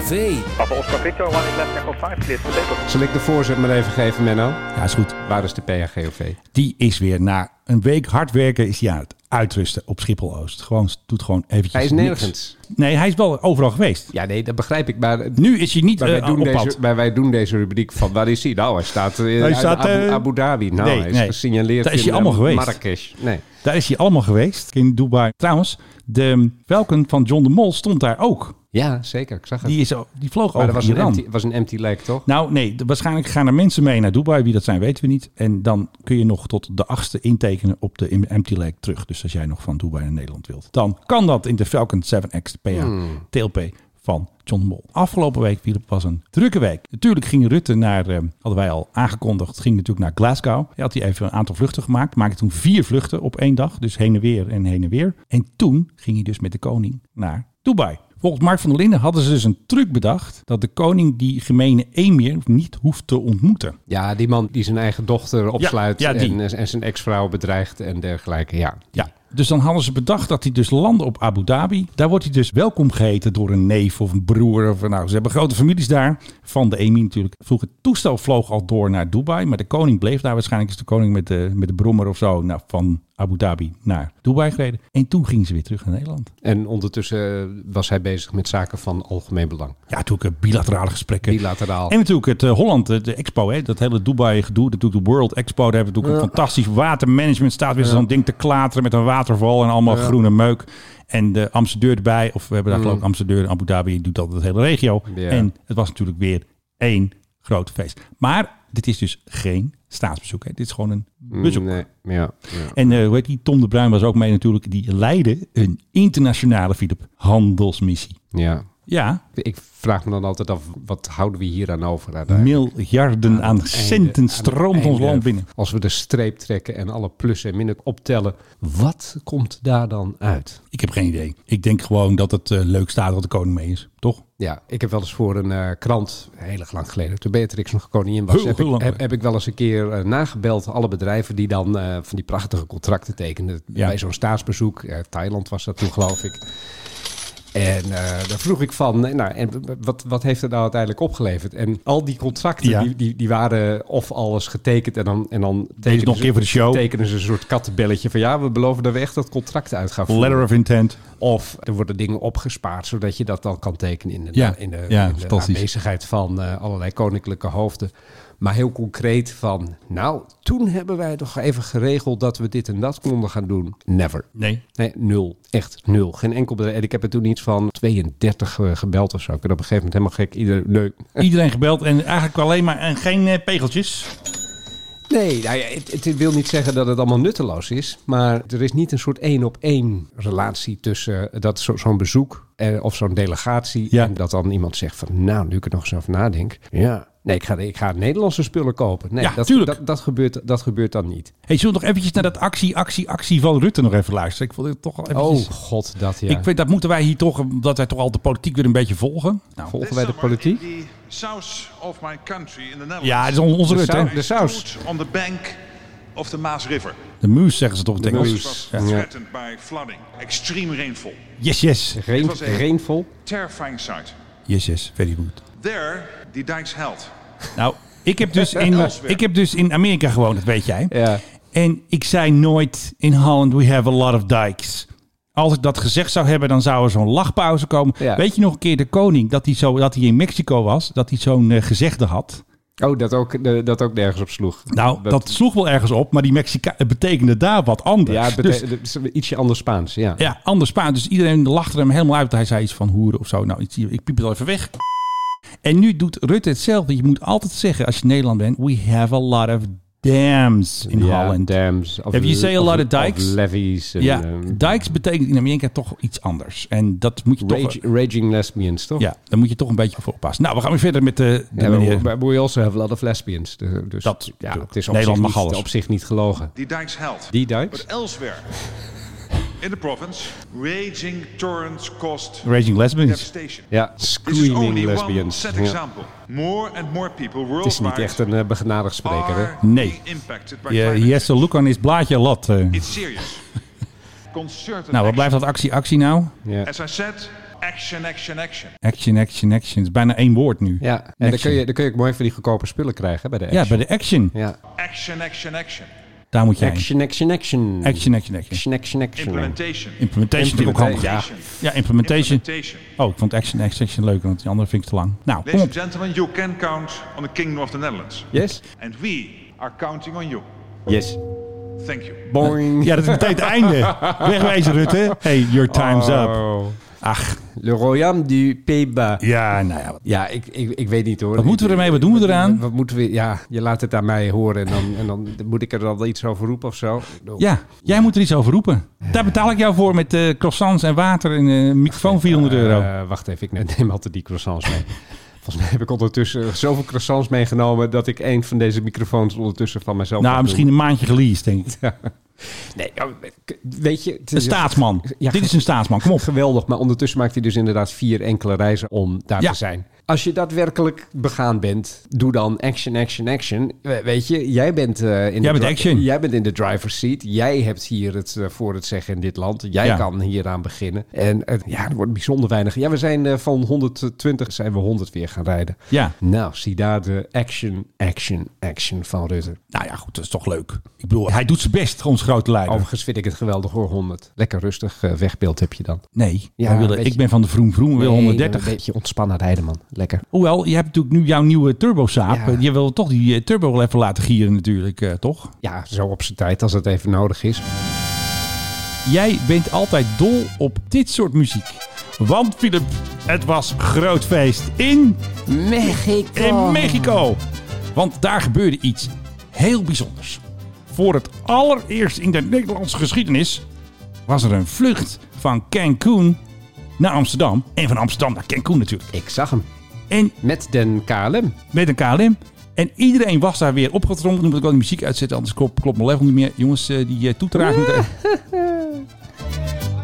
Speaker 7: Zal ik de voorzet maar even geven, Menno?
Speaker 2: Ja, is goed.
Speaker 7: Waar is de PHGOV?
Speaker 2: Die is weer na een week hard werken, is hij aan het uitrusten op Schiphol-Oost. Gewoon, doet gewoon eventjes
Speaker 7: Hij is
Speaker 2: niks.
Speaker 7: nergens.
Speaker 2: Nee, hij is wel overal geweest.
Speaker 7: Ja, nee, dat begrijp ik. Maar,
Speaker 2: Nu is hij niet
Speaker 7: maar wij,
Speaker 2: eh,
Speaker 7: doen
Speaker 2: op
Speaker 7: deze,
Speaker 2: pad.
Speaker 7: maar wij doen deze rubriek van waar is hij? Nou, hij staat in
Speaker 2: Hij staat,
Speaker 7: Abu,
Speaker 2: eh,
Speaker 7: Abu Dhabi. Nou,
Speaker 2: nee,
Speaker 7: hij is
Speaker 2: nee.
Speaker 7: gesignaleerd
Speaker 2: Daar is
Speaker 7: in
Speaker 2: hij allemaal
Speaker 7: eh,
Speaker 2: geweest.
Speaker 7: Marrakesh. Nee.
Speaker 2: Daar is hij allemaal geweest, in Dubai. Trouwens, de Falcon van John de Mol stond daar ook.
Speaker 7: Ja, zeker. Ik zag het.
Speaker 2: Die, is, die vloog
Speaker 7: maar
Speaker 2: over
Speaker 7: dat was een,
Speaker 2: Iran.
Speaker 7: empty, was een empty leg, toch?
Speaker 2: Nou, nee, d- waarschijnlijk gaan er mensen mee naar Dubai. Wie dat zijn, weten we niet. En dan kun je nog tot de achtste intekenen op de em- empty leg terug. Dus als jij nog van Dubai naar Nederland wilt, dan kan dat in de Falcon 7X PA TLP van John Mol. Afgelopen week, Philip, was een drukke week. Natuurlijk ging Rutte naar, eh, hadden wij al aangekondigd, ging natuurlijk naar Glasgow. Hij had hij even een aantal vluchten gemaakt. Maakte toen vier vluchten op één dag. Dus heen en weer en heen en weer. En toen ging hij dus met de koning naar Dubai. Volgens Mark van der Linden hadden ze dus een truc bedacht dat de koning die gemene emir niet hoeft te ontmoeten.
Speaker 7: Ja, die man die zijn eigen dochter opsluit
Speaker 2: ja, die.
Speaker 7: en, eh, en zijn ex-vrouw bedreigt en dergelijke. Ja, die.
Speaker 2: Ja, Dus dan hadden ze bedacht dat hij dus landde op Abu Dhabi. Daar wordt hij dus welkom geheten door een neef of een broer. Of, nou, ze hebben grote families daar. Van de emir natuurlijk. Vroeg het toestel vloog al door naar Dubai. Maar de koning bleef daar. Waarschijnlijk is de koning met de, met de brommer of zo. Nou, van Abu Dhabi naar Dubai gereden. En toen gingen ze weer terug naar Nederland.
Speaker 7: En ondertussen eh, was hij bezig met zaken van algemeen belang.
Speaker 2: Ja, natuurlijk eh, bilaterale gesprekken.
Speaker 7: Bilateraal.
Speaker 2: En natuurlijk het eh, Holland, eh, de expo, hè, dat hele Dubai gedoe, natuurlijk de World Expo. Daar hebben we natuurlijk een fantastisch watermanagement. Staat weer zo'n ding te klateren met een waterval en allemaal groene meuk. En de ambassadeur erbij, of we hebben daar geloof ik ambassadeur in Abu Dhabi, doet dat de hele regio.
Speaker 7: Ja.
Speaker 2: En het was natuurlijk weer één groot feest. Maar dit is dus geen staatsbezoek. Hè. Dit is gewoon een bezoek.
Speaker 7: Nee, Mm, eh, ja, ja.
Speaker 2: En eh hoe heet die? Tom de Bruin was ook mee natuurlijk. Die leidde een internationale, Philip, handelsmissie.
Speaker 7: ja.
Speaker 2: Ja,
Speaker 7: Ik vraag me dan altijd af, wat houden we hier aan over? uiteindelijk?
Speaker 2: miljarden aan
Speaker 7: het einde- aan
Speaker 2: centen
Speaker 7: het
Speaker 2: stroomt ons
Speaker 7: einde,
Speaker 2: land binnen.
Speaker 7: Als we de streep trekken en alle plussen en minnen optellen, wat komt daar dan uit?
Speaker 2: Ik heb geen idee. Ik denk gewoon dat het eh, leuk staat dat de koning mee is, toch?
Speaker 7: Ja, ik heb wel eens voor een eh, krant, heel erg lang geleden, toen Beatrix nog koningin was,
Speaker 2: Heel,
Speaker 7: heb,
Speaker 2: heel
Speaker 7: ik,
Speaker 2: lang
Speaker 7: heb,
Speaker 2: geleden.
Speaker 7: heb ik wel eens een keer eh, nagebeld. Alle bedrijven die dan eh, van die prachtige contracten tekenden
Speaker 2: Ja.
Speaker 7: bij zo'n staatsbezoek. Eh, Thailand was dat toen, geloof ik. En eh, daar vroeg ik van, eh, nou, en wat, wat heeft er nou uiteindelijk opgeleverd? En al die contracten,
Speaker 2: Ja.
Speaker 7: die, die, die waren of alles getekend en dan... En dan tekenen
Speaker 2: nog een
Speaker 7: ze-
Speaker 2: keer voor de show.
Speaker 7: Tekenen ze een soort kattenbelletje van, ja, we beloven dat we echt dat contract uit gaan voeren.
Speaker 2: Letter of intent.
Speaker 7: Of er worden dingen opgespaard, zodat je dat dan kan tekenen in de,
Speaker 2: Ja,
Speaker 7: in de,
Speaker 2: ja,
Speaker 7: in de
Speaker 2: fantastisch.
Speaker 7: aanwezigheid van eh, allerlei koninklijke hoofden. Maar heel concreet van, nou, toen hebben wij toch even geregeld dat we dit en dat konden gaan doen. Never.
Speaker 2: Nee.
Speaker 7: Nee, nul. Echt nul. Geen enkel bedrijf. En ik heb er toen iets van 32 eh, gebeld of zo. Ik ben op een gegeven moment helemaal gek. Ieder, nee,
Speaker 2: Iedereen gebeld en eigenlijk alleen maar en geen eh, pegeltjes.
Speaker 7: Nee, nou ja, het, het wil niet zeggen dat het allemaal nutteloos is. Maar er is niet een soort één-op-één relatie tussen eh, dat zo- zo'n bezoek eh, of zo'n delegatie.
Speaker 2: Ja.
Speaker 7: En dat dan iemand zegt van, nou, nu ik er nog eens over nadenk. Ja, nee, ik ga, ik ga Nederlandse spullen kopen. Nee,
Speaker 2: Ja,
Speaker 7: dat,
Speaker 2: tuurlijk.
Speaker 7: Dat, dat, gebeurt, dat gebeurt dan niet.
Speaker 2: Hey, zullen we nog eventjes naar dat actie, actie, actie van Rutte nog even luisteren? Ik vond het toch wel
Speaker 7: Oh,
Speaker 2: eventjes...
Speaker 7: god, dat ja.
Speaker 2: Ik weet, dat moeten wij hier toch, omdat wij toch al de politiek weer een beetje volgen. Nou,
Speaker 7: Volgen wij
Speaker 4: This
Speaker 7: de
Speaker 4: summer
Speaker 7: politiek?
Speaker 4: in the south of my country in the Netherlands.
Speaker 2: ja, het is on- onze
Speaker 7: De
Speaker 2: Rutte.
Speaker 7: saus-
Speaker 2: hè?
Speaker 7: de saus.
Speaker 4: Stood on the bank of the Maas River.
Speaker 2: De muus zeggen ze toch in het Engels.
Speaker 7: muus.
Speaker 4: was
Speaker 7: Ja.
Speaker 4: threatened by flooding, extreme rainfall,
Speaker 2: Yes, yes.
Speaker 7: Geen,
Speaker 4: was echt-
Speaker 7: Reenvol.
Speaker 4: terrifying sight.
Speaker 2: Yes, yes. Very good.
Speaker 4: There, die dijksheld.
Speaker 2: Nou, ik heb dus in,
Speaker 4: Elsewhere.
Speaker 2: ik heb dus in Amerika gewoond, dat weet jij.
Speaker 7: Ja.
Speaker 2: En ik zei nooit, in Holland we have a lot of dikes. Als ik dat gezegd zou hebben, dan zou er zo'n lachpauze komen.
Speaker 7: Ja.
Speaker 2: Weet je nog een keer de koning, dat hij, zo, dat hij in Mexico was, dat hij zo'n eh, gezegde had.
Speaker 7: Oh, dat ook, eh, dat ook nergens op sloeg.
Speaker 2: Nou, dat, sloeg wel ergens op, maar die Mexica het betekende daar wat anders.
Speaker 7: Ja, het
Speaker 2: Dus-
Speaker 7: betekent het is ietsje anders Spaans, ja.
Speaker 2: ja, anders Spaans. Dus iedereen lachte hem helemaal uit. Hij zei iets van hoeren of zo. Nou, iets hier. ik piep het al even weg. En nu doet Rutte hetzelfde. Je moet altijd zeggen, als je Nederland bent, we have a lot of dams in
Speaker 7: Ja,
Speaker 2: Holland.
Speaker 7: Dams. Of,
Speaker 2: Have you say a lot of
Speaker 7: dikes?
Speaker 2: dikes?
Speaker 7: levies. en,
Speaker 2: Ja,
Speaker 7: ehm,
Speaker 2: dikes betekent in Amerika toch iets anders. En dat moet je toch...
Speaker 7: Rage- raging lesbians, toch?
Speaker 2: Ja, daar moet je toch een beetje voor oppassen. Nou, we gaan weer verder met de, de
Speaker 7: Ja,
Speaker 2: meneer.
Speaker 7: maar we also have a lot of lesbians. Dus dus
Speaker 2: Dat-
Speaker 7: ja, het is op,
Speaker 2: Nederland
Speaker 7: zich
Speaker 2: mag
Speaker 7: niet,
Speaker 2: alles.
Speaker 7: op zich niet gelogen.
Speaker 4: Die dijksheld.
Speaker 7: Die Duits?
Speaker 4: But uh, elsewhere, in the province, raging torrents caused
Speaker 2: Raging Lesbians.
Speaker 4: devastation.
Speaker 7: Ja,
Speaker 4: This is only
Speaker 7: screaming
Speaker 4: one
Speaker 7: lesbians.
Speaker 4: set
Speaker 7: Ja.
Speaker 4: example. More and more people
Speaker 7: Het is niet echt
Speaker 4: worldwide
Speaker 7: een eh, begenadigd spreker, hè?
Speaker 4: are
Speaker 2: Nee.
Speaker 4: being impacted by
Speaker 2: Ja,
Speaker 4: climate
Speaker 2: he has a look on his blaadje a lot. eh.
Speaker 4: It's serious. Concerted
Speaker 2: nou, wat
Speaker 4: action.
Speaker 2: blijft dat actie, actie nou?
Speaker 7: Ja.
Speaker 4: As I said, action, action, action.
Speaker 2: Action, action, action. Het is bijna één woord nu.
Speaker 7: ja, en dan kun,
Speaker 2: Action.
Speaker 7: je, dan kun je ook mooi van die goedkope spullen krijgen hè, bij de
Speaker 2: Ja, bij
Speaker 7: action.
Speaker 2: de action.
Speaker 7: Ja,
Speaker 4: Action, action, action.
Speaker 2: Daar moet je heen.
Speaker 7: action, action, action.
Speaker 2: Action, action, action.
Speaker 7: action, action, action.
Speaker 4: Implementation.
Speaker 2: Implementation is natuurlijk ook handig. Ja. ja, implementation.
Speaker 4: Implementation.
Speaker 2: Oh, ik vond action, action, action leuker, want die andere vind ik te lang. Nou, kom
Speaker 4: Ladies and
Speaker 2: op.
Speaker 4: gentlemen, you can count on the Kingdom of the Netherlands.
Speaker 7: Yes?
Speaker 4: And we are counting on you.
Speaker 7: Yes.
Speaker 4: Thank you.
Speaker 7: Boing.
Speaker 2: Ja, dat is meteen het einde. Wegwijzen, Rutte. Hey, your time's up.
Speaker 7: Oh.
Speaker 2: Ach,
Speaker 7: Le Royaume du Pays-Bas.
Speaker 2: ja, nou ja.
Speaker 7: Ja, ik, ik, ik weet niet hoor.
Speaker 2: Wat moeten we ermee? Wat doen we eraan?
Speaker 7: Wat moeten we, ja, je laat het aan mij horen en dan, en dan moet ik er dan iets over roepen of zo.
Speaker 2: Ja, jij moet er iets over roepen. Daar betaal ik jou voor met eh, croissants en water en eh, een microfoon 400 euro.
Speaker 7: Eh, wacht even, ik ne- neem altijd die croissants mee. Volgens mij heb ik ondertussen zoveel croissants meegenomen dat ik een van deze microfoons ondertussen van mezelf.
Speaker 2: Nou,
Speaker 7: heb
Speaker 2: misschien een maandje geleased, denk ik.
Speaker 7: doen. Nee, ja, k- weet je. het
Speaker 2: Een
Speaker 7: is-
Speaker 2: staatsman.
Speaker 7: Ja.
Speaker 2: Dit is een staatsman, kom op.
Speaker 7: Geweldig, maar ondertussen maakt hij dus inderdaad vier enkele reizen om daar
Speaker 2: Ja.
Speaker 7: te zijn. Als je daadwerkelijk begaan bent, doe dan action, action, action. We- Weet je, jij bent, eh, in,
Speaker 2: Jij
Speaker 7: de
Speaker 2: bent
Speaker 7: dri-
Speaker 2: action.
Speaker 7: jij bent in de driver's seat. Jij hebt hier het eh, voor het zeggen in dit land. Jij
Speaker 2: Ja.
Speaker 7: kan hieraan beginnen. En eh, ja, er wordt bijzonder weinig. Ja, we zijn eh, van 120 zijn we 100 weer gaan rijden.
Speaker 2: Ja.
Speaker 7: Nou, zie daar de action, action, action van Rutte.
Speaker 2: Nou ja, goed, dat is toch leuk. Ik bedoel, hij doet zijn best, onze grote leider.
Speaker 7: Overigens vind ik het geweldig hoor, 100. Lekker rustig eh, wegbeeld heb je dan.
Speaker 2: Nee,
Speaker 7: Ja,
Speaker 2: wij willen-
Speaker 7: een beetje-
Speaker 2: ik ben van de vroom vroom, we willen
Speaker 7: Nee,
Speaker 2: 130.
Speaker 7: Een beetje ontspannen rijden, man. Lekker.
Speaker 2: Hoewel, je hebt natuurlijk nu jouw nieuwe turbosaap.
Speaker 7: Ja.
Speaker 2: Je wil toch die eh, turbo wel even laten gieren natuurlijk, eh, toch?
Speaker 7: Ja, zo op zijn tijd als het even nodig is.
Speaker 2: Jij bent altijd dol op dit soort muziek. Want Philip, het was groot feest in,
Speaker 7: Mexico.
Speaker 2: in Mexico. Want daar gebeurde iets heel bijzonders. Voor het allereerst in de Nederlandse geschiedenis was er een vlucht van Cancún naar Amsterdam. En van Amsterdam naar Cancún natuurlijk.
Speaker 7: Ik zag hem.
Speaker 2: En
Speaker 7: Met den KLM.
Speaker 2: met een KLM. En iedereen was daar weer opgetrommeld. Nu moet ik wel die muziek uitzetten, anders klopt, klopt mijn level niet meer. Jongens, eh, die eh, toeteraars moeten...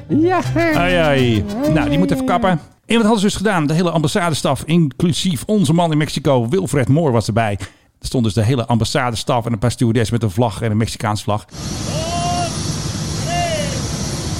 Speaker 7: Ja.
Speaker 2: Ai, ai. Nou, die moet even kappen. En wat hadden ze dus gedaan? De hele ambassadestaf, inclusief onze man in Mexico, Wilfred Moor, was erbij. Er stond dus de hele ambassadestaf en een paar stewardess met een vlag en een Mexicaans vlag.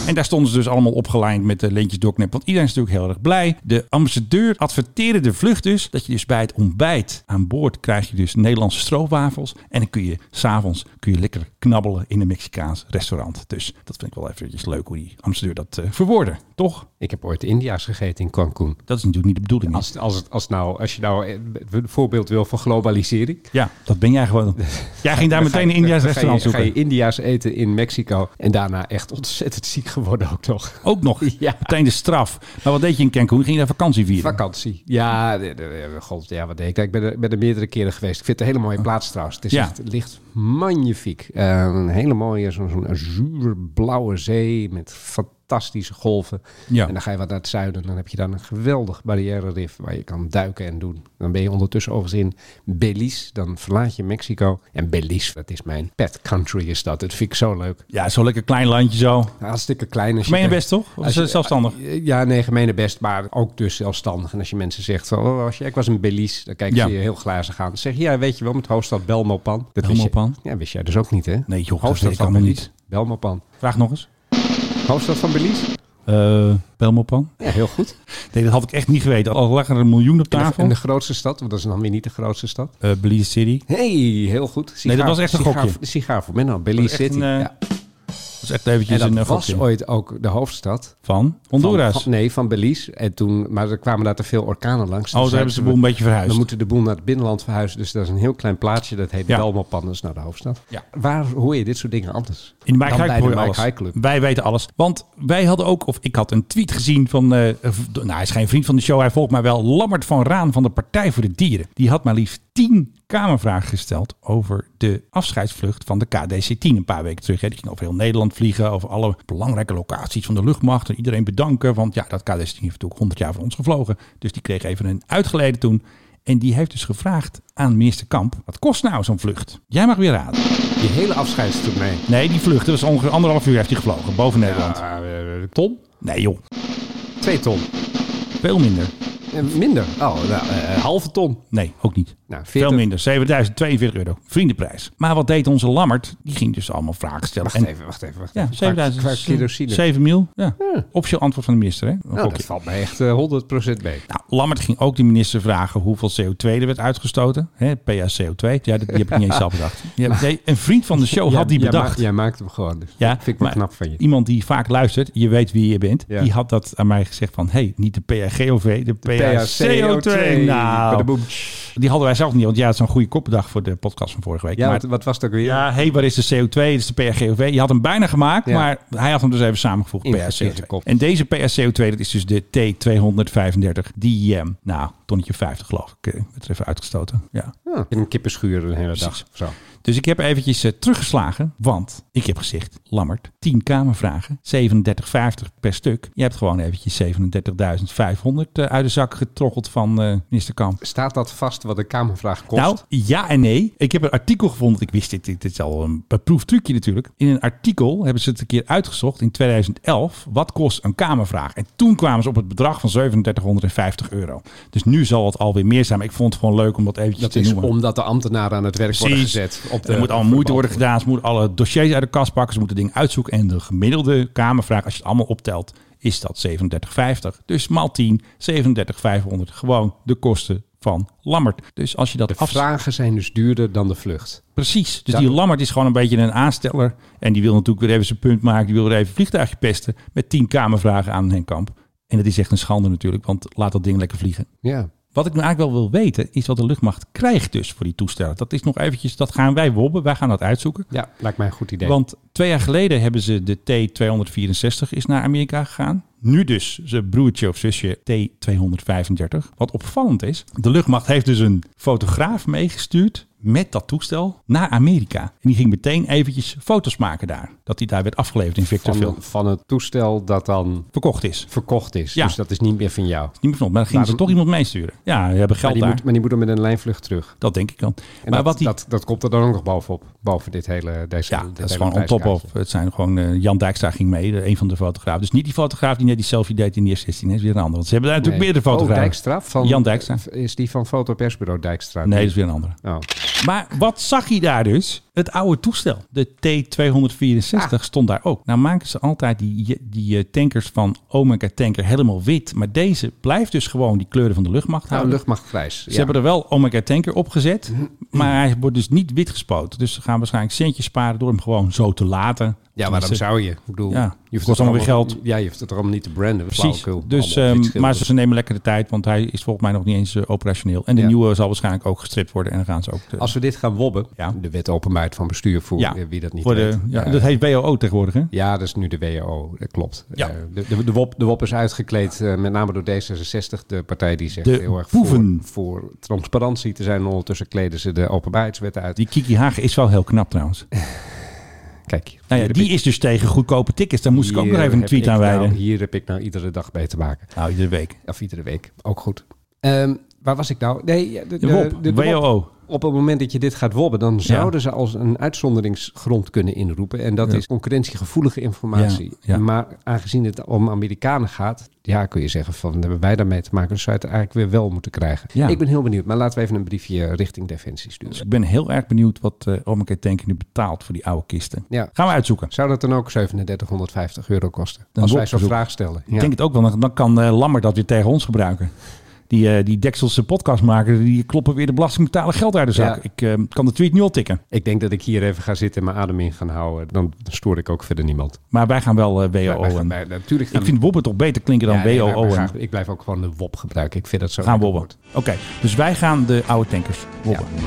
Speaker 2: En daar stonden ze dus allemaal opgelijnd met de leentjes doorknip. Want iedereen is natuurlijk heel erg blij. De ambassadeur adverteerde de vlucht dus. Dat je dus bij het ontbijt aan boord krijg je dus Nederlandse stroopwafels. En dan kun je s'avonds kun je lekker knabbelen in een Mexicaans restaurant. Dus dat vind ik wel eventjes leuk hoe die ambassadeur dat eh, verwoordde. Toch?
Speaker 7: Ik heb ooit India's gegeten in Cancun.
Speaker 2: Dat is natuurlijk niet de bedoeling. hè?
Speaker 7: Als, als, het- als, nou, als je nou eh, een voorbeeld wil van globalisering.
Speaker 2: Ja, dat ben jij gewoon. Jij ging daar
Speaker 7: dan ga
Speaker 2: meteen
Speaker 7: je-
Speaker 2: een India's
Speaker 7: dan
Speaker 2: restaurant
Speaker 7: ga je,
Speaker 2: zoeken.
Speaker 7: Ga je India's eten in Mexico. En daarna echt ontzettend ziek geworden ook nog.
Speaker 2: Ook nog.
Speaker 7: Ja.
Speaker 2: Meteen de straf. Maar wat deed je in Cancun? Ging je daar vakantie vieren?
Speaker 7: Vakantie. Ja, de- de- de- god, ja, wat deed ik? Ik ben er, ben er meerdere keren geweest. Ik vind het een hele mooie plaats trouwens. Het is
Speaker 2: Oh. Ja.
Speaker 7: echt, het ligt magnifiek. Eh, een hele mooie, zo'n zo'n azuurblauwe zee met fantastische golven.
Speaker 2: Ja.
Speaker 7: En dan ga je wat naar het zuiden. Dan heb je dan een geweldig barrière rif waar je kan duiken en doen. Dan ben je ondertussen overigens in Belize. Dan verlaat je Mexico. En Belize, dat is mijn pet country is dat. Dat vind ik zo leuk.
Speaker 2: Ja, zo lekker klein landje zo.
Speaker 7: Hartstikke klein. Als je
Speaker 2: Meen je
Speaker 7: kijkt-
Speaker 2: best toch? Of is
Speaker 7: als
Speaker 2: het
Speaker 7: je- eh,
Speaker 2: zelfstandig?
Speaker 7: Ja, nee, gemene best, maar ook dus zelfstandig. En als je mensen zegt, van, oh, als je, ik was in Belize, dan kijken
Speaker 2: Ja.
Speaker 7: ze je heel glazig aan. Dan zeg je, ja, weet je wel, met hoofdstad Belmopan. Dat wist je-
Speaker 2: Belmopan?
Speaker 7: ja, wist jij dus ook niet, hè?
Speaker 2: Nee, joh, dat
Speaker 7: hoofdstad
Speaker 2: weet ik
Speaker 7: van
Speaker 2: allemaal
Speaker 7: Belize. Belmopan.
Speaker 2: Vraag nog eens.
Speaker 7: Hoofdstad van Belize?
Speaker 2: Eh Belmopan?
Speaker 7: Ja, heel goed.
Speaker 2: Nee, dat had ik echt niet geweten. Al lag er een miljoen op
Speaker 7: En de,
Speaker 2: tafel.
Speaker 7: en de grootste stad, want dat is dan weer niet de grootste stad.
Speaker 2: Eh, Belize City.
Speaker 7: hey, heel goed. Sigaar-
Speaker 2: dat was echt een
Speaker 7: sigaar-
Speaker 2: gokje.
Speaker 7: Sigaar voor Menno, Belize
Speaker 2: Dat was echt
Speaker 7: City.
Speaker 2: een, eh,
Speaker 7: ja.
Speaker 2: Dat is echt eventjes
Speaker 7: En
Speaker 2: een
Speaker 7: dat
Speaker 2: eh,
Speaker 7: was
Speaker 2: gokje.
Speaker 7: ooit ook de hoofdstad.
Speaker 2: Van
Speaker 7: van-
Speaker 2: Honduras.
Speaker 7: van- nee, van Belize. En toen, maar er kwamen daar te veel orkanen langs. Toen
Speaker 2: oh, daar
Speaker 7: zeiden
Speaker 2: hebben ze de boel een
Speaker 7: we-
Speaker 2: beetje verhuisd.
Speaker 7: We moeten de boel naar het binnenland verhuizen. Dus dat is een heel klein plaatsje. Dat heet
Speaker 2: Ja.
Speaker 7: Belmopan. Dat is naar de hoofdstad.
Speaker 2: Ja.
Speaker 7: Waar hoor je dit soort dingen anders?
Speaker 2: In de
Speaker 7: Dan
Speaker 2: Mike High
Speaker 7: bij
Speaker 2: Club hoor
Speaker 7: de
Speaker 2: je
Speaker 7: Mike
Speaker 2: alles.
Speaker 7: High Club.
Speaker 2: Wij weten alles. Want wij hadden ook, of ik had een tweet gezien van, eh, v- nou hij is geen vriend van de show, hij volgt mij wel, Lammert van Raan van de Partij voor de Dieren. Die had maar liefst tien Kamervragen gesteld over de afscheidsvlucht van de KDC-10 een paar weken terug. Hè. Die ging over heel Nederland vliegen, over alle belangrijke locaties van de luchtmacht. En iedereen bedanken, want ja, dat KDC-10 heeft natuurlijk 100 jaar voor ons gevlogen. Dus die kreeg even een uitgeleden toen. En die heeft dus gevraagd aan minister Kamp, wat kost nou zo'n vlucht? Jij mag weer raden.
Speaker 7: Die hele afscheidstournee.
Speaker 2: Nee, die vlucht. Dat was ongeveer anderhalf uur heeft hij gevlogen. Boven Nederland.
Speaker 7: Ja, eh, ton?
Speaker 2: Nee joh,
Speaker 7: Twee ton.
Speaker 2: veel minder.
Speaker 7: Eh, minder. Oh, nou, eh, halve ton.
Speaker 2: Nee, ook niet.
Speaker 7: Nou, 40.
Speaker 2: Veel minder. 7042 euro. Vriendenprijs. Maar wat deed onze Lammert? Die ging dus allemaal vragen stellen.
Speaker 7: Wacht even, wacht even. Wacht
Speaker 2: Ja, eh,
Speaker 7: even. Qua-
Speaker 2: 7000.
Speaker 7: Qua kerosine.
Speaker 2: 7 mil. Ja. Optie antwoord van de minister. Hè?
Speaker 7: Nou,
Speaker 2: Oké.
Speaker 7: dat valt mij echt eh, 100% mee.
Speaker 2: Nou, Lammert ging ook de minister vragen hoeveel CO2 er werd uitgestoten. Hè, PaCO2. Ja, dat, die heb ik niet eens zelf bedacht. Ja, nee, een vriend van de show had die
Speaker 7: Jij- jij
Speaker 2: bedacht.
Speaker 7: ma- Jij, maakt hem gewoon. Dus
Speaker 2: Ja,
Speaker 7: ja, vind ik wel
Speaker 2: maar
Speaker 7: knap van je.
Speaker 2: Iemand die vaak luistert, je weet wie je bent,
Speaker 7: Ja.
Speaker 2: die had dat aan mij gezegd van... hé, hey, niet de PAGOV, de PACO2. Nou,
Speaker 7: Badaboom.
Speaker 2: die hadden wij zelf niet, want ja, het is een goede koppendag voor de podcast van vorige week.
Speaker 7: Ja,
Speaker 2: maar,
Speaker 7: wat, wat was het ook weer?
Speaker 2: ja, hé, hey, waar is de CO2? Dat is de PAGOV. Je had hem bijna gemaakt,
Speaker 7: Ja.
Speaker 2: maar hij had hem dus even samengevoegd,
Speaker 7: Ingekeerde
Speaker 2: PACO2.
Speaker 7: kop.
Speaker 2: En deze PACO2, dat is dus de T235. Die, ehm, nou, tonnetje 50 geloof ik, eh, werd er even uitgestoten. Ja.
Speaker 7: Ah. Ja, in een kippenschuur een hele dag. Zo.
Speaker 2: Dus ik heb eventjes eh, teruggeslagen, want ik heb gezegd, Lammert, 10 kamervragen, 37,50 per stuk. Je hebt gewoon eventjes 37.500 eh, uit de zak getroggeld van eh, minister Kamp.
Speaker 7: Staat dat vast wat een Kamervraag kost?
Speaker 2: Nou, ja en nee. Ik heb een artikel gevonden. Ik wist dit, dit is al een beproefd trucje natuurlijk. In een artikel hebben ze het een keer uitgezocht in 2011. Wat kost een Kamervraag? En toen kwamen ze op het bedrag van 3750 euro. Dus nu zal het alweer meer zijn. Maar ik vond het gewoon leuk om dat eventjes
Speaker 7: dat
Speaker 2: te
Speaker 7: is
Speaker 2: noemen.
Speaker 7: omdat de ambtenaren aan het werk worden
Speaker 2: Precies.
Speaker 7: gezet. Op de,
Speaker 2: er moet al
Speaker 7: op de
Speaker 2: moeite worden
Speaker 7: balkon.
Speaker 2: gedaan. Ze moeten alle dossiers uit de kast pakken. Ze moeten dingen uitzoeken. En de gemiddelde kamervraag, als je het allemaal optelt, is dat 37,50. Dus maal 10, 37,500. Gewoon de kosten van Lammert. Dus als je dat
Speaker 7: De
Speaker 2: afslaat.
Speaker 7: vragen zijn dus duurder dan de vlucht.
Speaker 2: Precies. Dus
Speaker 7: Ja.
Speaker 2: die Lammert is gewoon een beetje een aansteller. En die wil natuurlijk weer even zijn punt maken. Die wil weer even een vliegtuigje pesten. Met tien kamervragen aan Henk Kamp. En dat is echt een schande natuurlijk. Want laat dat ding lekker vliegen.
Speaker 7: Ja.
Speaker 2: Wat ik nu eigenlijk wel wil weten. Is wat de luchtmacht krijgt dus voor die toestellen. Dat is nog eventjes. Dat gaan wij wobben. Wij gaan dat uitzoeken.
Speaker 7: ja, lijkt mij een goed idee.
Speaker 2: Want twee jaar geleden hebben ze de T-264 is naar Amerika gegaan. Nu dus zijn broertje of zusje T-235. Wat opvallend is, de luchtmacht heeft dus een fotograaf meegestuurd met dat toestel naar Amerika. En die ging meteen eventjes foto's maken daar. Dat die daar werd afgeleverd in Victorville.
Speaker 7: van, van het toestel dat dan
Speaker 2: Verkocht is.
Speaker 7: verkocht is.
Speaker 2: Ja.
Speaker 7: Dus dat is niet meer van jou.
Speaker 2: Niet meer van ons, maar dan gingen ze toch
Speaker 7: Waarom-
Speaker 2: iemand meesturen. Ja, we hebben
Speaker 7: Maar
Speaker 2: geld
Speaker 7: die,
Speaker 2: daar.
Speaker 7: moet, maar die moet dan met een lijnvlucht terug.
Speaker 2: Dat denk ik dan.
Speaker 7: En
Speaker 2: maar
Speaker 7: dat,
Speaker 2: wat die...
Speaker 7: dat, dat komt er dan ook nog bovenop. Boven dit hele deze
Speaker 2: Ja,
Speaker 7: dit
Speaker 2: dat is
Speaker 7: hele
Speaker 2: gewoon on top of.
Speaker 7: prijskaartje.
Speaker 2: Het zijn gewoon, eh, Jan Dijkstra ging mee, de- een van de fotografen. Dus niet die fotograaf die net die selfie deed in de eerste 16, is weer een ander. Want ze hebben daar natuurlijk
Speaker 7: Nee.
Speaker 2: meerdere fotografen.
Speaker 7: Oh, Dijkstra? Van,
Speaker 2: Jan Dijkstra.
Speaker 7: Is die van Fotopersbureau Dijkstra?
Speaker 2: Nee, dat is weer een andere.
Speaker 7: Oh.
Speaker 2: Maar wat zag hij daar dus? Het oude toestel. De T264
Speaker 7: Ah.
Speaker 2: stond daar ook. Nou maken ze altijd die, die eh, tankers van Omega Tanker helemaal wit. Maar deze blijft dus gewoon die kleuren van de luchtmacht
Speaker 7: Nou, Mhm.
Speaker 2: houden.
Speaker 7: luchtmachtgrijs.
Speaker 2: Ze hebben er wel Omega Tanker op gezet, maar hij wordt dus niet wit gespoten. Dus ze gaan waarschijnlijk centjes sparen door hem gewoon zo te laten.
Speaker 7: Ja, maar dan
Speaker 2: Tenminste,
Speaker 7: zou je. Ik bedoel,
Speaker 2: Ja,
Speaker 7: je hoeft
Speaker 2: kost allemaal weer geld.
Speaker 7: Ja, je hoeft het er allemaal niet te branden.
Speaker 2: Precies.
Speaker 7: Flauwekul.
Speaker 2: Dus,
Speaker 7: Allemaal
Speaker 2: ehm,
Speaker 7: wit
Speaker 2: maar ze,
Speaker 7: schilders.
Speaker 2: ze nemen lekker de tijd, want hij is volgens mij nog niet eens eh, operationeel. En de
Speaker 7: Ja.
Speaker 2: nieuwe zal waarschijnlijk ook gestript worden en dan gaan ze ook. eh, de-
Speaker 7: Als we dit gaan wobben,
Speaker 2: Ja.
Speaker 7: de wet openbaarheid van bestuur voor eh, wie dat niet
Speaker 2: voor de-
Speaker 7: weet.
Speaker 2: ja,
Speaker 7: Eh,
Speaker 2: Dat heet WOO tegenwoordig, hè?
Speaker 7: ja, dat is nu de WO, dat klopt.
Speaker 2: Ja.
Speaker 7: Eh, de, de, de, WOP, de WOP is uitgekleed, eh, met name door D66, de partij die zegt
Speaker 2: De
Speaker 7: heel erg
Speaker 2: boeven.
Speaker 7: Voor, voor transparantie te zijn. Ondertussen kleden ze de openbaarheidswet uit.
Speaker 2: Die Kiki Hagen is wel heel knap trouwens.
Speaker 7: Kijk,
Speaker 2: Nou ja,
Speaker 7: hier
Speaker 2: die
Speaker 7: heb ik-
Speaker 2: is dus tegen goedkope tickets. Daar moest ik ook
Speaker 7: hier
Speaker 2: nog even een
Speaker 7: heb
Speaker 2: tweet
Speaker 7: ik
Speaker 2: aan wijden.
Speaker 7: Nou,
Speaker 2: Nou,
Speaker 7: hier heb ik nou iedere dag mee te maken.
Speaker 2: iedere week.
Speaker 7: Of iedere week, ook goed. Ehm, waar was ik nou? Nee, ja, de,
Speaker 2: De
Speaker 7: de-
Speaker 2: WOP,
Speaker 7: de- de WOP.
Speaker 2: WOO.
Speaker 7: op het moment dat je dit gaat wobben, dan zouden ze als een uitzonderingsgrond kunnen inroepen. En dat
Speaker 2: Ja.
Speaker 7: is concurrentiegevoelige informatie.
Speaker 2: Ja, ja.
Speaker 7: Maar aangezien het om Amerikanen gaat, ja, kun je zeggen van hebben wij daarmee te maken. Dus zou je het eigenlijk weer wel moeten krijgen.
Speaker 2: Ja.
Speaker 7: Ik ben heel benieuwd, maar laten we even een briefje richting Defensie
Speaker 2: Dus
Speaker 7: sturen.
Speaker 2: ik ben heel erg benieuwd wat eh Omeke Tank nu betaalt voor die oude kisten.
Speaker 7: Ja.
Speaker 2: Gaan we uitzoeken.
Speaker 7: Zou dat dan ook 3750 euro kosten?
Speaker 2: Dan
Speaker 7: als wij zo'n
Speaker 2: wobverzoek.
Speaker 7: vraag stellen.
Speaker 2: Ik denk het ook wel. Dan- Dan kan eh Lammer dat weer tegen ons gebruiken. Die, eh, die Dekselse podcastmaker, die kloppen weer de belastingbetaler geld uit de zak.
Speaker 7: Ja.
Speaker 2: Ik eh, kan de tweet nu al tikken.
Speaker 7: Ik denk dat ik hier even ga zitten en mijn adem in gaan houden. Dan stoor ik ook verder niemand.
Speaker 2: Maar wij gaan wel eh,
Speaker 7: Wij- wij
Speaker 2: WOO.
Speaker 7: gaan-
Speaker 2: en-
Speaker 7: wij- natuurlijk gaan
Speaker 2: Ik vind Wobben toch beter klinken dan
Speaker 7: Ja, nee, maar-
Speaker 2: WOO.
Speaker 7: maar
Speaker 2: en-
Speaker 7: graag- ik blijf ook gewoon de WOP gebruiken. Ik vind dat zo.
Speaker 2: Gaan
Speaker 7: lekker
Speaker 2: wobben.
Speaker 7: woord.
Speaker 2: Oké, dus wij gaan de oude tankers wobben. Ja,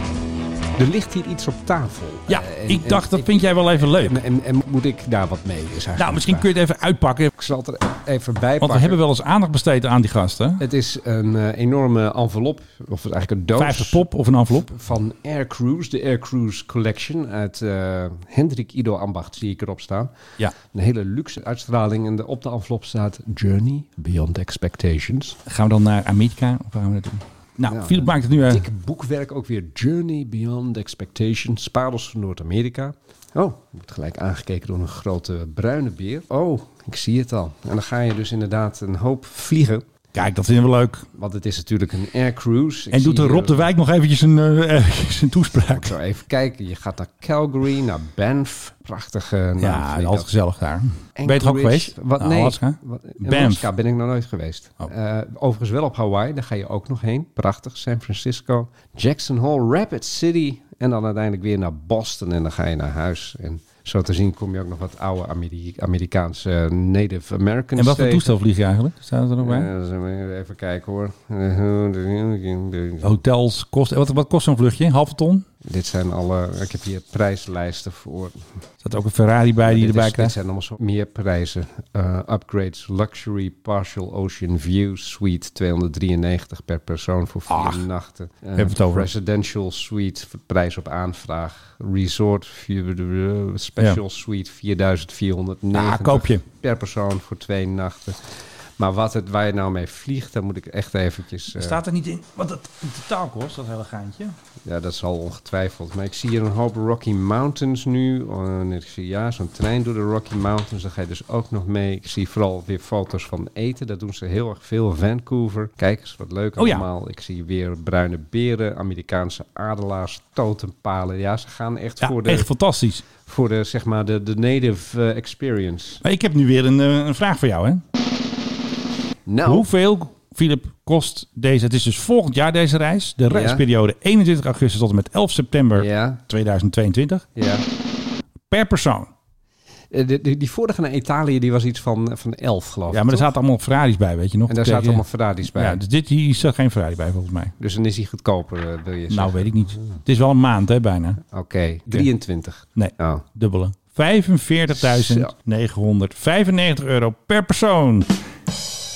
Speaker 7: Er ligt hier iets op tafel. Eh, en-
Speaker 2: ik
Speaker 7: en-
Speaker 2: dacht, dat
Speaker 7: ik-
Speaker 2: vind jij wel even leuk.
Speaker 7: En, en, en moet ik daar wat mee? Is eigenlijk
Speaker 2: Nou, misschien
Speaker 7: de
Speaker 2: kun
Speaker 7: vraag.
Speaker 2: je het even uitpakken.
Speaker 7: Ik zal het er even bij pakken.
Speaker 2: Want we hebben wel eens aandacht besteed aan die gasten.
Speaker 7: Het is een eh, enorme envelop, of eigenlijk een doos.
Speaker 2: 50 pop of een envelop.
Speaker 7: Van Air Cruise, de Air Cruise Collection uit eh, Hendrik Ido Ambacht, zie ik erop staan.
Speaker 2: Ja.
Speaker 7: Een hele luxe uitstraling en de- op de envelop staat Journey Beyond Expectations.
Speaker 2: Gaan we dan naar Amerika? Of waar gaan we naartoe? Nou,
Speaker 7: Ja,
Speaker 2: Philip
Speaker 7: een
Speaker 2: maakt het nu... eh,
Speaker 7: Dikke boekwerk ook weer Journey Beyond Expectations, Spadels van Noord-Amerika. Oh, wordt gelijk aangekeken door een grote bruine beer. Oh, ik zie het al. En dan ga je dus inderdaad een hoop vliegen.
Speaker 2: Kijk, dat vinden we leuk.
Speaker 7: Want het is natuurlijk een aircruise. Ik
Speaker 2: En
Speaker 7: zie
Speaker 2: doet de
Speaker 7: hier-
Speaker 2: Rob de Wijk nog eventjes een, eh, eventjes een
Speaker 7: Ik
Speaker 2: toespraak.
Speaker 7: zou even kijken. Je gaat naar Calgary, naar Banff. Prachtige naam.
Speaker 2: Ja,
Speaker 7: nou, vind ik
Speaker 2: altijd
Speaker 7: dat.
Speaker 2: gezellig daar. Ben je toch ook
Speaker 7: Anchorage.
Speaker 2: geweest?
Speaker 7: Wat,
Speaker 2: Naar
Speaker 7: nee,
Speaker 2: Alaska?
Speaker 7: Wat- in
Speaker 2: Banff.
Speaker 7: Alaska ben ik nog nooit geweest.
Speaker 2: Oh.
Speaker 7: Eh, overigens wel op Hawaii, daar ga je ook nog heen. Prachtig, San Francisco. Jackson Hole, Rapid City. En dan uiteindelijk weer naar Boston en dan ga je naar huis. En zo te zien kom je ook nog wat oude Ameri- Amerikaanse eh, Native Americans
Speaker 2: En wat voor
Speaker 7: tegen.
Speaker 2: toestel vlieg je eigenlijk? Staat het er nog bij?
Speaker 7: Eh, even kijken hoor. Eh,
Speaker 2: Hotels, kost, wat, wat kost zo'n vluchtje? Halve ton?
Speaker 7: Dit zijn alle, ik heb hier prijslijsten voor.
Speaker 2: Zat ook een Ferrari bij die
Speaker 7: dit,
Speaker 2: erbij
Speaker 7: is- dit
Speaker 2: krijgt?
Speaker 7: zijn allemaal zo meer prijzen. Eh, upgrades, luxury, partial ocean view, suite 293 per persoon voor vier
Speaker 2: Ach,
Speaker 7: nachten. Eh,
Speaker 2: hebben we het over.
Speaker 7: Residential suite, prijs op aanvraag. Resort, view- special suite 4490
Speaker 2: Ah, koop je.
Speaker 7: per persoon voor twee nachten. Maar wat het, waar je nou mee vliegt, daar moet ik echt eventjes... eh,
Speaker 2: er niet in wat het in totaal kost, dat hele gaantje?
Speaker 7: ja, dat zal ongetwijfeld. Maar ik zie hier een hoop Rocky Mountains nu. Oh, En ik zie ja, zo'n trein door de Rocky Mountains. Daar ga je dus ook nog mee. Ik zie vooral weer foto's van eten. Dat doen ze heel erg veel. Vancouver. Kijk eens, wat leuk
Speaker 2: Oh ja.
Speaker 7: allemaal. Ik zie weer bruine beren, Amerikaanse adelaars, totempalen. Ja, ze gaan echt
Speaker 2: Ja,
Speaker 7: voor de,
Speaker 2: echt fantastisch.
Speaker 7: voor de, zeg maar, de, de native eh, experience.
Speaker 2: Maar ik heb nu weer een, eh, een vraag voor jou, hè?
Speaker 7: Nou,
Speaker 2: Hoeveel, Philip, kost deze? Het is dus volgend jaar deze reis. De reisperiode 21 augustus tot en met 11 september
Speaker 7: Ja,
Speaker 2: 2022.
Speaker 7: ja.
Speaker 2: Per persoon.
Speaker 7: Eh, de- de- die vorige naar Italië, die was iets van, van elf, geloof ik.
Speaker 2: Ja, maar er
Speaker 7: toch?
Speaker 2: zaten allemaal Ferraris bij, weet je nog?
Speaker 7: En daar
Speaker 2: Tegen-
Speaker 7: zaten allemaal Ferraris bij.
Speaker 2: Ja, dus dit hier zat geen Ferrari bij, volgens mij.
Speaker 7: Dus dan is hij goedkoper, eh, wil je zeggen.
Speaker 2: Nou, weet ik niet. Het is wel een maand, hè, bijna.
Speaker 7: Oké, 23.
Speaker 2: Nee,
Speaker 7: Oh.
Speaker 2: dubbele. 45.995 euro per persoon.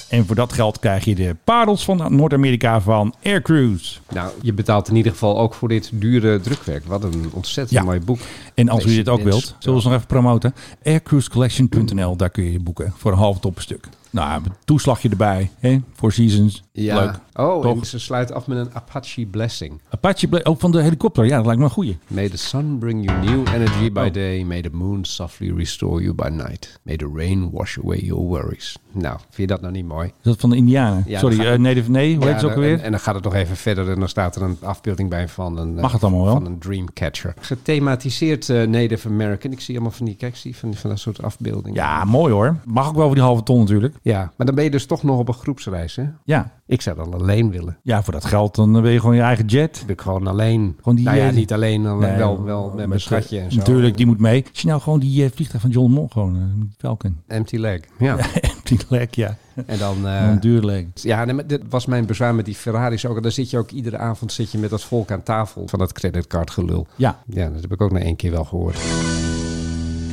Speaker 2: En voor dat geld krijg je de parels van Noord-Amerika van Air Cruise.
Speaker 7: Nou, je betaalt in ieder geval ook voor dit dure drukwerk. Wat een ontzettend
Speaker 2: Ja.
Speaker 7: mooi boek.
Speaker 2: En als u dit ook
Speaker 7: President.
Speaker 2: wilt, zullen we ze nog even promoten. Aircruisecollection.nl, daar kun je je boeken voor een halve top een stuk. Nou, een toeslagje erbij, hè? Four Seasons,
Speaker 7: Ja.
Speaker 2: leuk.
Speaker 7: Oh,
Speaker 2: Toch?
Speaker 7: en ze sluit af met een Apache Blessing.
Speaker 2: Apache, Bla- ook van de helikopter, ja, dat lijkt me een goeie.
Speaker 7: May the sun bring you new energy
Speaker 2: Oh.
Speaker 7: by day. May the moon softly restore you by night. May the rain wash away your worries. Nou, vind je dat nou niet mooi?
Speaker 2: Is dat van de Indianen?
Speaker 7: Ja,
Speaker 2: Sorry,
Speaker 7: dat
Speaker 2: eh
Speaker 7: gaat-
Speaker 2: nee, nee, hoe
Speaker 7: Ja,
Speaker 2: heet ze ook
Speaker 7: dan-
Speaker 2: weer?
Speaker 7: En, en dan gaat het nog even verder en dan staat er een afbeelding bij van een, eh,
Speaker 2: Mag het allemaal wel?
Speaker 7: van een dreamcatcher. Gethematiseerd eh, Native American. Ik zie allemaal van die, kijk, zie van, die- van dat soort afbeeldingen.
Speaker 2: Ja, mooi hoor. Mag ook wel voor die halve ton natuurlijk.
Speaker 7: Ja, maar dan ben je dus toch nog op een groepsreis, hè?
Speaker 2: Ja,
Speaker 7: Ik zou dan alleen willen.
Speaker 2: ja voor dat geld dan wil je gewoon je eigen jet.
Speaker 7: Ik gewoon alleen.
Speaker 2: Gewoon die,
Speaker 7: nou ja,
Speaker 2: eh,
Speaker 7: niet alleen, dan
Speaker 2: Nee,
Speaker 7: wel, wel met mijn
Speaker 2: eh,
Speaker 7: schatje en zo.
Speaker 2: Natuurlijk, die moet mee. Als je nou gewoon die eh, vliegtuig van John Mol, gewoon eh, Falcon.
Speaker 7: Empty leg, ja.
Speaker 2: Die lek, ja.
Speaker 7: En dan... eh,
Speaker 2: Een duur lek.
Speaker 7: ja, nee, maar dit was mijn bezwaar met die Ferraris ook. En dan zit je ook iedere avond zit je met dat volk aan tafel van dat creditcardgelul.
Speaker 2: Ja.
Speaker 7: Ja, dat heb ik ook na één keer wel gehoord.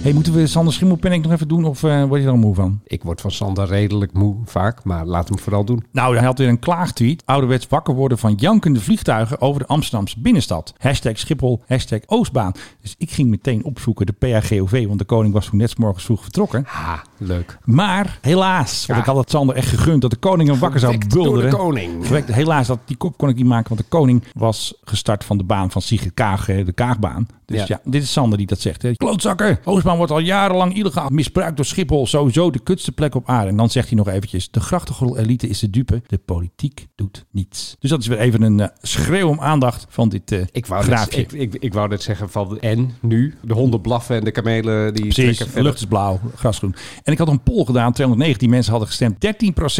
Speaker 2: Hey, moeten we Sander Schimmelpennink nog even doen of eh, word je er al moe van?
Speaker 7: Ik word van Sander redelijk moe vaak, maar laat hem vooral doen.
Speaker 2: Nou, hij had weer een klaagtweet. Ouderwets wakker worden van jankende vliegtuigen over de Amsterdamse binnenstad. Hashtag Schiphol, hashtag Oostbaan. Dus ik ging meteen opzoeken de PAGOV, want de koning was toen net 's morgens vroeg vertrokken.
Speaker 7: Ha, leuk.
Speaker 2: Maar helaas, want ik
Speaker 7: Ja.
Speaker 2: had het Sander echt gegund dat de koning hem wakker zou
Speaker 7: Gewekt door
Speaker 2: bulderen.
Speaker 7: de koning.
Speaker 2: Gewekt. helaas, dat, die kop kon ik niet maken, want de koning was gestart van de baan van Sigrid Kaag, hè, de Kaagbaan. Dus ja.
Speaker 7: Ja.
Speaker 2: dit is Sander die dat zegt. Hè. Klootzakker, Oostbaan wordt al jarenlang illegaal misbruikt door Schiphol. Sowieso de kutste plek op aarde. En dan zegt hij nog eventjes, de grachtengordel elite is de dupe. De politiek doet niets. Dus dat is weer even een eh, schreeuw om aandacht van dit eh
Speaker 7: Ik wou, net,
Speaker 2: graafje.
Speaker 7: ik, ik, ik wou net zeggen van en nu? De honden blaffen en de kamelen die
Speaker 2: Precies,
Speaker 7: trekken
Speaker 2: de
Speaker 7: verder.
Speaker 2: lucht is blauw, grasgroen. En ik had een poll gedaan, 219 mensen hadden gestemd.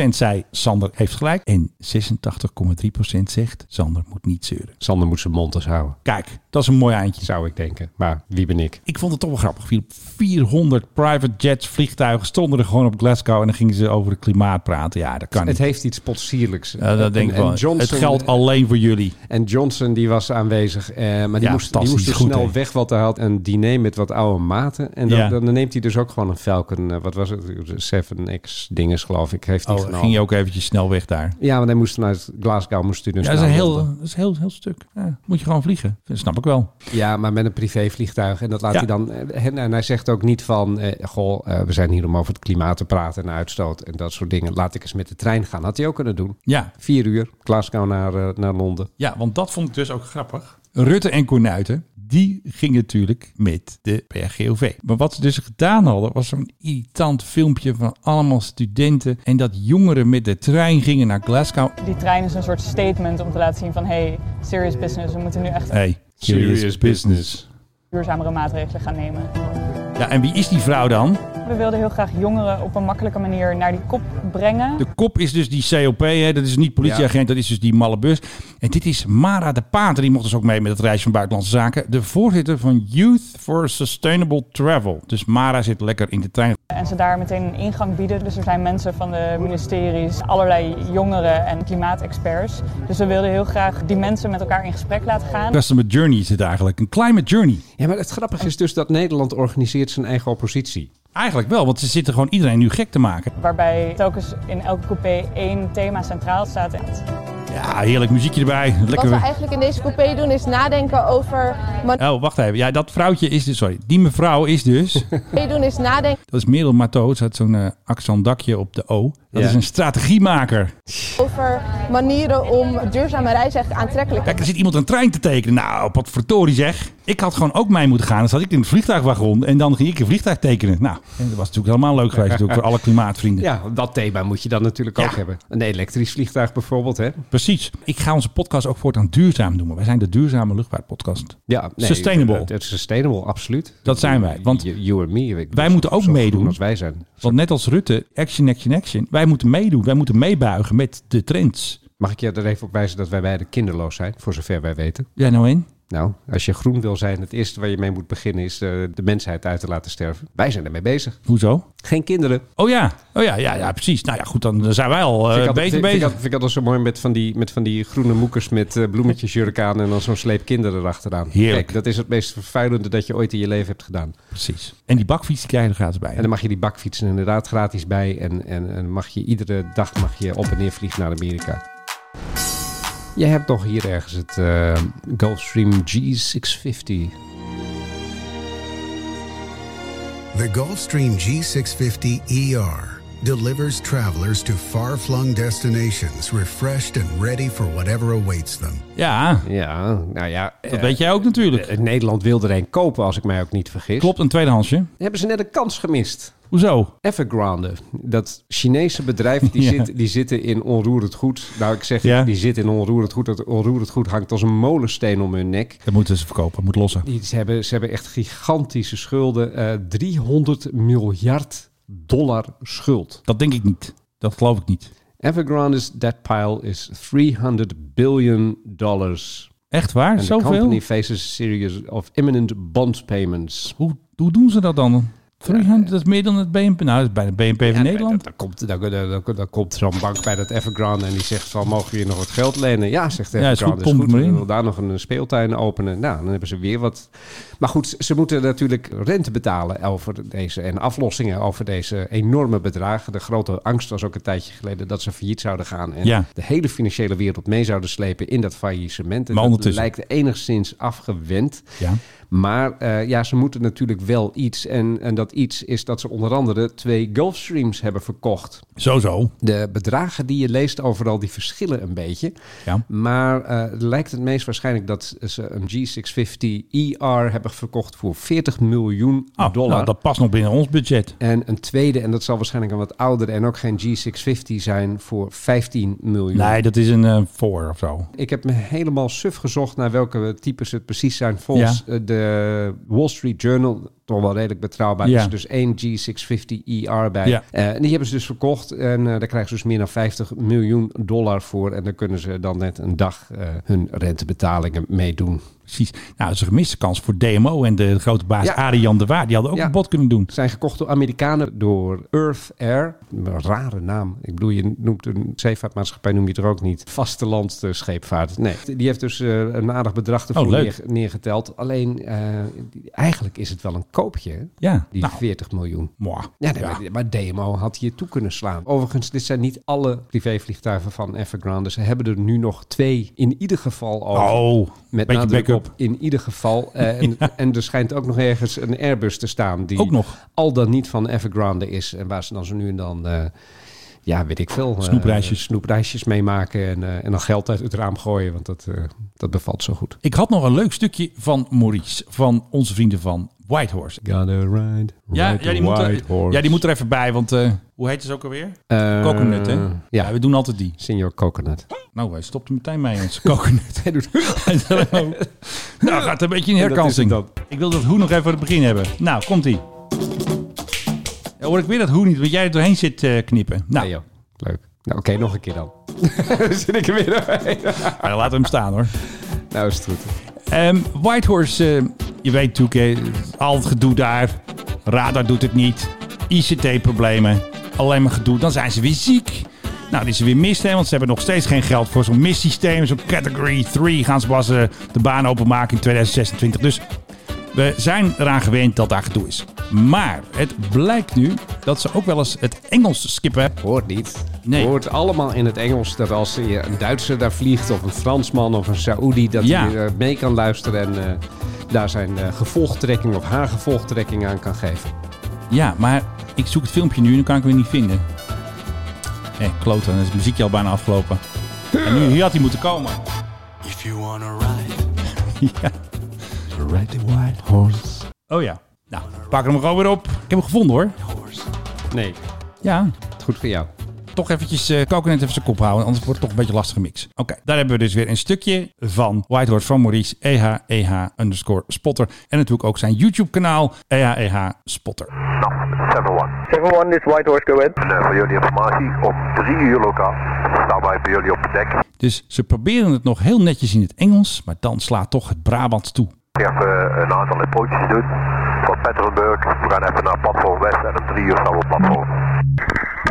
Speaker 2: 13% zei Sander heeft gelijk. En 86,3% zegt Sander moet niet zeuren.
Speaker 7: Sander moet zijn mond eens houden,
Speaker 2: Kijk, dat is een mooi eindje.
Speaker 7: zou ik denken. Maar wie ben ik?
Speaker 2: Ik vond het toch wel grappig. Philip. 400 private jets, vliegtuigen stonden er gewoon op Glasgow en dan gingen ze over het klimaat praten. Ja, dat kan
Speaker 7: Het
Speaker 2: niet.
Speaker 7: heeft iets potsierlijks.
Speaker 2: Ja, dat denk ik
Speaker 7: En- en
Speaker 2: wel. het
Speaker 7: Johnson-
Speaker 2: geldt alleen voor jullie.
Speaker 7: En Johnson die was aanwezig, eh, maar die
Speaker 2: Ja,
Speaker 7: moest, die moest
Speaker 2: fantastisch.
Speaker 7: dus
Speaker 2: Goed,
Speaker 7: snel
Speaker 2: hè?
Speaker 7: weg, want hij had een diner met wat oude maten. En dan,
Speaker 2: Ja.
Speaker 7: dan neemt hij dus ook gewoon een Falcon, eh, wat was het, 7X dinges geloof ik, heeft hij
Speaker 2: Oh,
Speaker 7: genomen.
Speaker 2: ging je ook eventjes snel weg daar.
Speaker 7: Ja, want hij moest vanuit Glasgow moest hij dus
Speaker 2: Ja, dat is een
Speaker 7: naar
Speaker 2: heel,
Speaker 7: Londen.
Speaker 2: dat is een heel, heel stuk. Ja, moet je gewoon vliegen. Dat snap ik wel.
Speaker 7: Ja, maar met een privévliegtuig. En dat laat
Speaker 2: Ja.
Speaker 7: hij dan. eh, En, en hij zegt ook niet van. eh, goh, eh, we zijn hier om over het klimaat te praten en uitstoot en dat soort dingen. Laat ik eens met de trein gaan. Had hij ook kunnen doen.
Speaker 2: Ja,
Speaker 7: Vier uur, Glasgow naar, eh, naar Londen.
Speaker 2: Ja, want dat vond ik dus ook grappig. Rutte en Cornuiten, die gingen natuurlijk met de PRGOV. Maar wat ze dus gedaan hadden, was zo'n irritant filmpje van allemaal studenten. En dat jongeren met de trein gingen naar Glasgow.
Speaker 1: Die trein is een soort statement om te laten zien van... hey, serious business, we moeten nu echt
Speaker 2: Hey, serious business.
Speaker 1: duurzamere maatregelen gaan nemen.
Speaker 2: Ja, en wie is die vrouw dan?
Speaker 1: We wilden heel graag jongeren op een makkelijke manier naar die kop brengen.
Speaker 2: De kop is dus die COP, hè? dat is niet politieagent, dat is dus die malle bus. En dit is Mara de Pater, die mocht dus ook mee met het reis van Buitenlandse Zaken. De voorzitter van Youth for Sustainable Travel. Dus Mara zit lekker in de trein.
Speaker 1: en ze daar meteen een ingang bieden. Dus er zijn mensen van de ministeries, allerlei jongeren en klimaatexperts. Dus we wilden heel graag die mensen met elkaar in gesprek laten gaan.
Speaker 2: Customer Journey zit eigenlijk, een climate journey.
Speaker 7: Ja, maar het grappige is dus dat Nederland organiseert zijn eigen oppositie.
Speaker 2: Eigenlijk wel, want ze zitten gewoon iedereen nu gek te maken.
Speaker 1: Waarbij telkens in elke coupé één thema centraal staat.
Speaker 2: Ja, heerlijk muziekje erbij. Lekker.
Speaker 11: Wat we eigenlijk in deze coupé doen is nadenken over.
Speaker 2: Oh, wacht even. Ja, dat vrouwtje is dus. Sorry, die mevrouw is dus.
Speaker 11: We doen is nadenken
Speaker 2: dat is Merel Matto. Ze had zo'n eh, accent dakje op de O. Dat
Speaker 11: Ja.
Speaker 2: is een strategiemaker.
Speaker 11: over manieren om duurzame reizen echt aantrekkelijk te
Speaker 2: Kijk, er zit iemand een trein te tekenen. Nou, wat verdorie zeg. Ik had gewoon ook mee moeten gaan. Dan zat ik in het vliegtuigwagon en dan ging ik een vliegtuig tekenen. Nou, en dat was natuurlijk helemaal leuk geweest natuurlijk, voor alle klimaatvrienden.
Speaker 7: Ja, dat thema moet je dan natuurlijk ook hebben. Een elektrisch vliegtuig bijvoorbeeld, hè?
Speaker 2: Precies. Ik ga onze podcast ook voortaan duurzaam noemen. Wij zijn de duurzame luchtvaartpodcast.
Speaker 7: Ja, nee,
Speaker 2: Sustainable.
Speaker 7: Het, het is sustainable, absoluut.
Speaker 2: Dat zijn wij. Want
Speaker 7: you, you and me. ik-
Speaker 2: Wij moeten ook
Speaker 7: zo groen
Speaker 2: meedoen.
Speaker 7: Als wij zijn.
Speaker 2: Want net als Rutte, action, action, action. Wij moeten meedoen. Wij moeten meebuigen met de trends.
Speaker 7: Mag ik je er even op wijzen dat wij beide kinderloos zijn, voor zover wij weten?
Speaker 2: Ja, nou één.
Speaker 7: Nou, als je groen wil zijn, het eerste waar je mee moet beginnen is eh, de mensheid uit te laten sterven. Wij zijn ermee bezig.
Speaker 2: Hoezo?
Speaker 7: Geen kinderen.
Speaker 2: Oh ja, oh ja, ja, ja, precies. Nou ja, goed, dan zijn wij al eh,
Speaker 7: Vind ik altijd-
Speaker 2: beter
Speaker 7: vind ik
Speaker 2: bezig.
Speaker 7: altijd- Vind ik altijd zo mooi met van die, met van die groene moekers met eh, bloemetjes, jurkaan en dan zo'n sleep kinderen erachteraan.
Speaker 2: Heerlijk.
Speaker 7: Kijk, dat is het meest vervuilende dat je ooit in je leven hebt gedaan.
Speaker 2: Precies. En die bakfiets die krijg je er gratis bij.
Speaker 7: En dan mag je die bakfietsen inderdaad gratis bij. En, en, en mag je iedere dag mag je op en neer vliegen naar Amerika. Jij hebt nog hier ergens het eh, Gulfstream G650.
Speaker 12: The Gulfstream G650 ER delivers travelers to far flung destinations refreshed and ready for whatever awaits them.
Speaker 2: Ja.
Speaker 7: Ja, nou ja. Eh, Dat
Speaker 2: weet jij ook natuurlijk.
Speaker 7: Nederland wilde er een kopen, als ik mij ook niet vergis.
Speaker 2: Klopt, een tweedehandsje.
Speaker 7: Hebben ze net een kans gemist?
Speaker 2: Hoezo?
Speaker 7: Evergrande. Dat Chinese bedrijf, die,
Speaker 2: Ja.
Speaker 7: zit, die zitten in onroerend goed. Nou, ik zeg,
Speaker 2: Ja.
Speaker 7: die zitten in onroerend goed. Dat onroerend goed hangt als een molensteen om hun nek.
Speaker 2: Dat moeten ze verkopen, moet lossen.
Speaker 7: Die, ze, hebben, ze hebben echt gigantische schulden. Eh, 300 miljard dollar schuld.
Speaker 2: Dat denk ik niet. Dat geloof ik niet.
Speaker 7: Evergrande's debt pile is 300 billion dollars.
Speaker 2: Echt waar?
Speaker 7: And
Speaker 2: Zoveel?
Speaker 7: The company faces a series of imminent bond payments.
Speaker 2: Hoe, hoe doen ze dat dan?
Speaker 7: eh.
Speaker 2: 300, dat is meer dan het BNP. Nou, dat is bijna BNP van Nederland.
Speaker 7: Dan komt, dan, dan, dan, dan komt zo'n bank bij dat Evergrande en die zegt van, mogen we je nog wat geld lenen? Ja, zegt
Speaker 2: Ja, is
Speaker 7: Evergrande,
Speaker 2: goed, pomp het maar
Speaker 7: we
Speaker 2: in.
Speaker 7: willen daar nog een speeltuin openen. Nou, dan hebben ze weer wat. Maar goed, ze moeten natuurlijk rente betalen over deze, en aflossingen over deze enorme bedragen. De grote angst was ook een tijdje geleden dat ze failliet zouden gaan en
Speaker 2: Ja.
Speaker 7: de hele financiële wereld mee zouden slepen in dat faillissement. En
Speaker 2: Maar
Speaker 7: dat
Speaker 2: ondertussen-
Speaker 7: lijkt enigszins afgewend.
Speaker 2: Ja.
Speaker 7: Maar eh, ja, ze moeten natuurlijk wel iets. En, en dat iets is dat ze onder andere twee Gulfstreams hebben verkocht.
Speaker 2: Zo, zo.
Speaker 7: De bedragen die je leest overal, die verschillen een beetje.
Speaker 2: Ja.
Speaker 7: Maar eh, het lijkt het meest waarschijnlijk dat ze een G650 ER E hebben verkocht voor 40 miljoen
Speaker 2: Oh,
Speaker 7: dollar.
Speaker 2: nou, dat past nog binnen ons budget.
Speaker 7: En een tweede, en dat zal waarschijnlijk een wat ouder en ook geen G650 zijn, voor 15 miljoen.
Speaker 2: Nee, dat is een eh, voor of zo.
Speaker 7: Ik heb me helemaal suf gezocht naar welke types het precies zijn. Volgens eh, de Wall Street Journal, toch wel redelijk betrouwbaar,
Speaker 2: Ja.
Speaker 7: is dus één G650ER bij.
Speaker 2: Ja.
Speaker 7: Eh, en die hebben ze dus verkocht en eh, daar krijgen ze dus meer dan 50 miljoen dollar voor. En dan kunnen ze dan net een dag eh, hun rentebetalingen meedoen.
Speaker 2: Precies. Nou, dat is een gemiste kans voor DMO en de grote baas
Speaker 7: Ja.
Speaker 2: Adrian de Waar. Die hadden ook
Speaker 7: Ja.
Speaker 2: een bod kunnen doen.
Speaker 7: Zijn gekocht door Amerikanen door Earth Air. Een rare naam. Ik bedoel, je noemt een zeevaartmaatschappij, noem je het er ook niet. Vasteland eh, scheepvaart. Nee, die heeft dus eh, een aardig bedrag ervoor
Speaker 2: Oh, leuk.
Speaker 7: neer- neergeteld. Alleen, eh, eigenlijk is het wel een koopje. hè?
Speaker 2: Ja.
Speaker 7: Die
Speaker 2: Nou.
Speaker 7: 40 miljoen.
Speaker 2: Mwah.
Speaker 7: Ja, nee, Maar, maar DMO had hier toe kunnen slaan. Overigens, dit zijn niet alle privévliegtuigen van Evergrande. Ze hebben er nu nog twee in ieder geval over.
Speaker 2: Oh,
Speaker 7: Met
Speaker 2: beetje
Speaker 7: nadruk
Speaker 2: backup.
Speaker 7: op in ieder geval. Eh, en, en er schijnt ook nog ergens een Airbus te staan. Die
Speaker 2: Ook nog.
Speaker 7: al dan niet van Evergrande is. En waar ze dan zo nu en dan... eh, ja, weet ik veel. eh,
Speaker 2: Snoepreisjes.
Speaker 7: snoepreisjes meemaken en, eh, en dan geld uit het raam gooien. Want dat, eh, dat bevalt zo goed.
Speaker 2: Ik had nog een leuk stukje van Maurice, van onze vrienden van Whitehorse.
Speaker 7: Gotta ride,
Speaker 2: Ja, ja, die moet er, ja, die moet er even bij, want eh, hoe heet ze ook alweer? Coconut, hè?
Speaker 7: Eh, ja.
Speaker 2: Ja. we doen altijd die.
Speaker 7: Senior Coconut.
Speaker 2: Nou, hij stopt er meteen mee, onze coconut.
Speaker 7: Hij doet...
Speaker 2: nou, gaat een beetje in
Speaker 7: En dat is het
Speaker 2: herkansing.
Speaker 7: dan.
Speaker 2: Ik wil dat hoe nog even voor het begin hebben. Nou, komt-ie. Ja, hoor ik weer dat hoe niet, want jij er doorheen zit eh, knippen. Nou,
Speaker 7: Nee, Ah, joh. Leuk. Nou, oké, nog een keer dan. Dan zit ik er weer doorheen.
Speaker 2: maar eh, laten we hem staan, hoor.
Speaker 7: nou is het goed.
Speaker 2: Ehm, Whitehorse, eh, je weet natuurlijk, eh, al het gedoe daar. Radar doet het niet. ICT-problemen, alleen maar gedoe. Dan zijn ze weer ziek. Nou, dit is weer misstemmend, want ze hebben nog steeds geen geld voor zo'n missysteem. Zo'n category 3 gaan ze pas eh, de baan openmaken in 2026. Dus we zijn eraan gewend dat daar gedoe is. Maar het blijkt nu dat ze ook wel eens het Engels skippen.
Speaker 7: Hoort niet. Nee. Hoort allemaal in het Engels. Dat als je een Duitser daar vliegt of een Fransman of een Saoedi, dat
Speaker 2: Ja.
Speaker 7: je eh, mee kan luisteren en eh, daar zijn eh, gevolgtrekking of haar gevolgtrekking aan kan geven.
Speaker 2: Ja, maar ik zoek het filmpje nu en dan kan ik hem weer niet vinden. Hé, kloten, dan is het muziekje al bijna afgelopen. En nu, hier had hij moeten komen.
Speaker 13: If you wanna ride,
Speaker 2: ja. Ride the white horse. Oh ja. Nou, pak hem gewoon weer op. Ik heb hem gevonden hoor.
Speaker 7: Nee.
Speaker 2: Ja.
Speaker 7: Goed voor jou.
Speaker 2: Toch eventjes eh coconut even zijn kop houden, anders wordt het toch een beetje een lastige mix. Oké, daar hebben we dus weer een stukje van White Horse van Maurice, EH, EH underscore spotter. En natuurlijk ook zijn YouTube kanaal, EH, EH spotter.
Speaker 6: Nou, 7-1. 7-1 is White Horse, go ahead. En voor jullie informatie, om 3 uur lokaal staan wij bij jullie op het dek.
Speaker 2: Dus ze proberen het nog heel netjes in het Engels, maar dan slaat toch het Brabant toe.
Speaker 6: Ik heb eh, een aantal pootjes te doen. Van Petterenburg, we gaan even naar platform West en om 3 uur staan we op platform.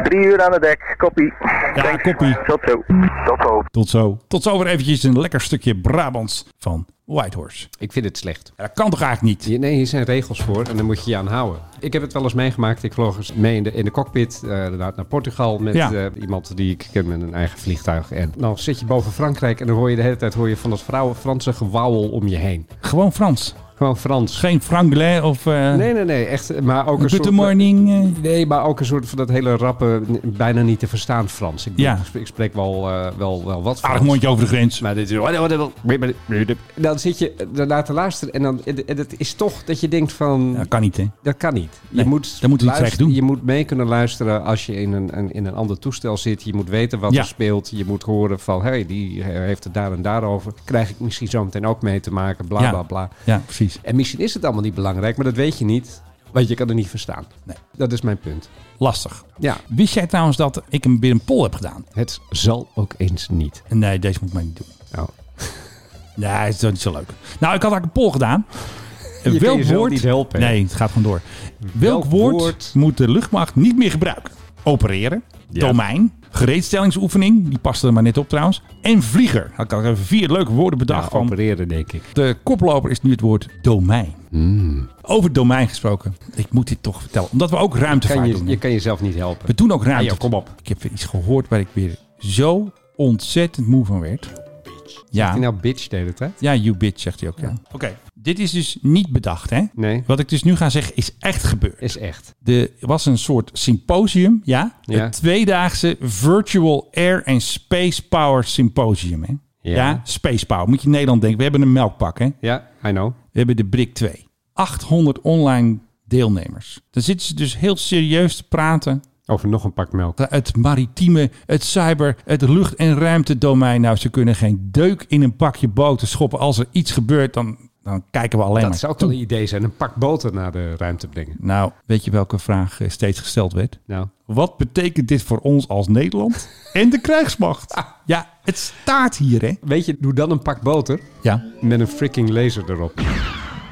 Speaker 6: 3 uur aan het dek, kopie.
Speaker 2: Ja, koppie.
Speaker 6: Tot zo. Tot zo.
Speaker 2: Tot zo. Tot zo weer eventjes een lekker stukje Brabants van Whitehorse.
Speaker 7: Ik vind het slecht.
Speaker 2: Dat kan toch eigenlijk niet?
Speaker 7: Je- nee, hier zijn regels voor en daar moet je je aan houden. Ik heb het wel eens meegemaakt. Ik vloog eens mee in de, in de cockpit eh, inderdaad naar Portugal met
Speaker 2: Ja.
Speaker 7: eh, iemand die ik ken met een eigen vliegtuig. En dan zit je boven Frankrijk en dan hoor je de hele tijd hoor je van dat vrouwen Franse gewauwel om je heen.
Speaker 2: Gewoon Frans.
Speaker 7: Gewoon Frans.
Speaker 2: Geen Franglais of... eh,
Speaker 7: Nee, nee, nee, echt. Maar ook een
Speaker 2: Good
Speaker 7: soort,
Speaker 2: morning. eh.
Speaker 7: Nee, maar ook een soort van dat hele rappe, n- bijna niet te verstaan Frans. Ik, bedoel,
Speaker 2: Ja.
Speaker 7: ik spreek- ik spreek wel, eh, wel, wel wat Frans.
Speaker 2: Aardig mondje over de grens.
Speaker 7: Maar dit is... Dan zit je daarna te luisteren en dan en het is toch dat je denkt van...
Speaker 2: Dat kan niet, hè?
Speaker 7: Dat kan niet.
Speaker 2: Nee,
Speaker 7: moet
Speaker 2: daar moeten we iets
Speaker 7: luisteren-
Speaker 2: tegen doen.
Speaker 7: Je moet mee kunnen luisteren als je in een, een- in een ander toestel zit. Je moet weten wat
Speaker 2: Ja.
Speaker 7: er speelt. Je moet horen van, hé, hey, die eh, heeft het daar en daarover. Krijg ik misschien zo meteen ook mee te maken, bla,
Speaker 2: Ja.
Speaker 7: bla, bla.
Speaker 2: Ja, precies.
Speaker 7: En misschien is het allemaal niet belangrijk, maar dat weet je niet. Want je kan het niet verstaan.
Speaker 2: Nee.
Speaker 7: Dat is mijn punt.
Speaker 2: Lastig.
Speaker 7: Ja.
Speaker 2: Wist jij trouwens dat ik hem weer een poll heb gedaan?
Speaker 7: Het zal ook eens niet.
Speaker 2: Nee, deze moet ik maar niet doen.
Speaker 7: Nou,
Speaker 2: Nee, het is toch niet zo leuk. Nou, ik had eigenlijk een poll gedaan.
Speaker 7: Je kan jezelf niet helpen, hè?
Speaker 2: Nee, het gaat gewoon door. Welk,
Speaker 7: Welk
Speaker 2: woord,
Speaker 7: woord-
Speaker 2: moet de luchtmacht niet meer gebruiken? Opereren, domein, gereedstellingsoefening. Die paste er maar net op trouwens. En vlieger. Had ik al even vier leuke woorden bedacht.
Speaker 7: ja,
Speaker 2: van.
Speaker 7: opereren denk ik.
Speaker 2: De koploper is nu het woord domein.
Speaker 7: Hmm.
Speaker 2: Over domein gesproken. Ik moet dit toch vertellen. Omdat we ook ruimtevaart
Speaker 7: Kan je,
Speaker 2: doen. hè?
Speaker 7: je kan jezelf niet helpen.
Speaker 2: We doen ook ruimte.
Speaker 7: Ah, joh, kom op.
Speaker 2: Ik heb weer iets gehoord waar ik weer zo ontzettend moe van werd.
Speaker 7: Zegt hij
Speaker 2: Ja,
Speaker 7: nou bitch de hele tijd?
Speaker 2: ja you bitch zegt hij ook. Ja. Oké, dit is dus niet bedacht hè.
Speaker 7: Nee,
Speaker 2: Wat ik dus nu ga zeggen is echt gebeurd.
Speaker 7: is echt.
Speaker 2: Er was een soort symposium, ja.
Speaker 7: Ja.
Speaker 2: Het tweedaagse Virtual Air and Space Power Symposium. Hè?
Speaker 7: Ja.
Speaker 2: Space Power. Moet je in Nederland denken. We hebben een melkpak, hè?
Speaker 7: Ja, I know.
Speaker 2: We hebben de BRIC 2. 800 online deelnemers. Dan zitten ze dus heel serieus te praten
Speaker 7: Over nog een pak melk.
Speaker 2: het maritieme, het cyber, het lucht- en ruimtedomein. Nou, ze kunnen geen deuk in een pakje boter schoppen. Als er iets gebeurt, dan, dan kijken we alleen
Speaker 7: Dat
Speaker 2: maar
Speaker 7: zou ook
Speaker 2: toe.
Speaker 7: wel een idee zijn. Een pak boter naar de ruimte brengen.
Speaker 2: Nou, weet je welke vraag eh, steeds gesteld werd?
Speaker 7: Nou,
Speaker 2: Wat betekent dit voor ons als Nederland en de krijgsmacht? Ja, het staat hier, hè?
Speaker 7: weet je, doe dan een pak boter
Speaker 2: Ja,
Speaker 7: met een freaking laser erop.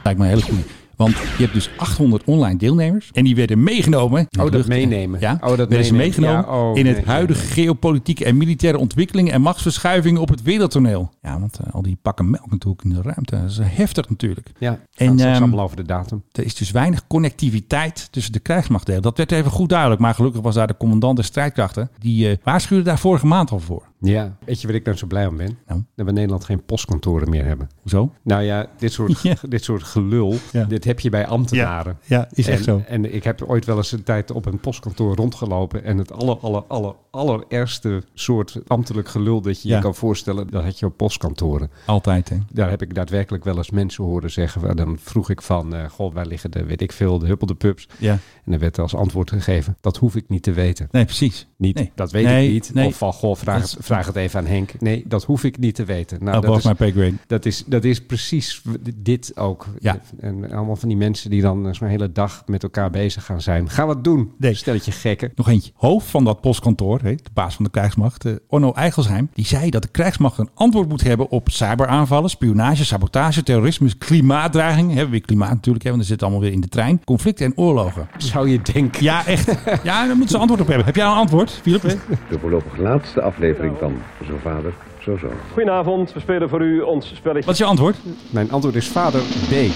Speaker 2: lijkt me een hele goede. Want je hebt dus 800 online deelnemers. En die werden meegenomen. naar de
Speaker 7: Oh, dat
Speaker 2: lucht-
Speaker 7: meenemen.
Speaker 2: Ja,
Speaker 7: Oh, dat
Speaker 2: werden ze
Speaker 7: meenemen.
Speaker 2: meegenomen
Speaker 7: Ja, oh,
Speaker 2: in het
Speaker 7: nee.
Speaker 2: huidige geopolitieke en militaire ontwikkelingen en machtsverschuivingen op het wereldtoneel. Ja, want eh, al die pakken melk natuurlijk in de ruimte. Dat is eh, heftig natuurlijk.
Speaker 7: Ja,
Speaker 2: En,
Speaker 7: en, dat is
Speaker 2: ehm,
Speaker 7: allemaal over de datum.
Speaker 2: Er is dus weinig connectiviteit tussen de krijgsmachtdelen. Dat werd even goed duidelijk. Maar gelukkig was daar de commandant der strijdkrachten. Die eh, waarschuwde daar vorige maand al voor.
Speaker 7: Ja, weet je waar ik nou zo blij om ben?
Speaker 2: Nou.
Speaker 7: Dat we in Nederland geen postkantoren meer hebben.
Speaker 2: Hoezo?
Speaker 7: Nou ja, dit soort,
Speaker 2: Ja.
Speaker 7: dit soort gelul,
Speaker 2: Ja.
Speaker 7: dit heb je bij ambtenaren.
Speaker 2: Ja, is echt
Speaker 7: en,
Speaker 2: zo.
Speaker 7: En ik heb ooit wel eens een tijd op een postkantoor rondgelopen. En het aller, aller, aller, allerergste soort ambtelijk gelul dat je
Speaker 2: Ja.
Speaker 7: je kan voorstellen, dat had je op postkantoren.
Speaker 2: Altijd, hè?
Speaker 7: Daar heb ik daadwerkelijk wel eens mensen horen zeggen. waar Dan vroeg ik van, eh goh, waar liggen de, weet ik veel, de huppelde pups?
Speaker 2: Ja.
Speaker 7: En dan werd als antwoord gegeven, dat hoef ik niet te weten.
Speaker 2: Nee, precies.
Speaker 7: Niet,
Speaker 2: Nee.
Speaker 7: dat weet
Speaker 2: Nee,
Speaker 7: ik niet.
Speaker 2: nee.
Speaker 7: Of eh, van, goh, vraag,
Speaker 2: Dat is-
Speaker 7: het, vraag het even aan Henk. Nee, dat hoef ik niet te weten.
Speaker 2: Nou, Above
Speaker 7: dat
Speaker 2: is, my pay grade.
Speaker 7: Dat is, dat is precies dit ook.
Speaker 2: Ja.
Speaker 7: En allemaal van die mensen die dan zo'n hele dag met elkaar bezig gaan zijn. Ga wat doen, nee. stelletje gekken.
Speaker 2: Nog eentje. Hoofd van dat postkantoor, de baas van de krijgsmacht, eh, Onno Eigelsheim, die zei dat de krijgsmacht een antwoord moet hebben op cyberaanvallen, spionage, sabotage, terrorisme, klimaatdreiging. Hebben we weer klimaat natuurlijk, hè, want er zit allemaal weer in de trein. Conflicten en oorlogen.
Speaker 7: Zou je denken.
Speaker 2: Ja, echt. Ja, daar moeten ze antwoord op hebben. Heb jij een antwoord, Philip?
Speaker 14: De voorlopig laatste aflevering van Zo Vader, Zo Zo.
Speaker 10: Goedenavond, we spelen voor u ons spelletje.
Speaker 2: Wat is je antwoord?
Speaker 7: Mijn antwoord is vader B.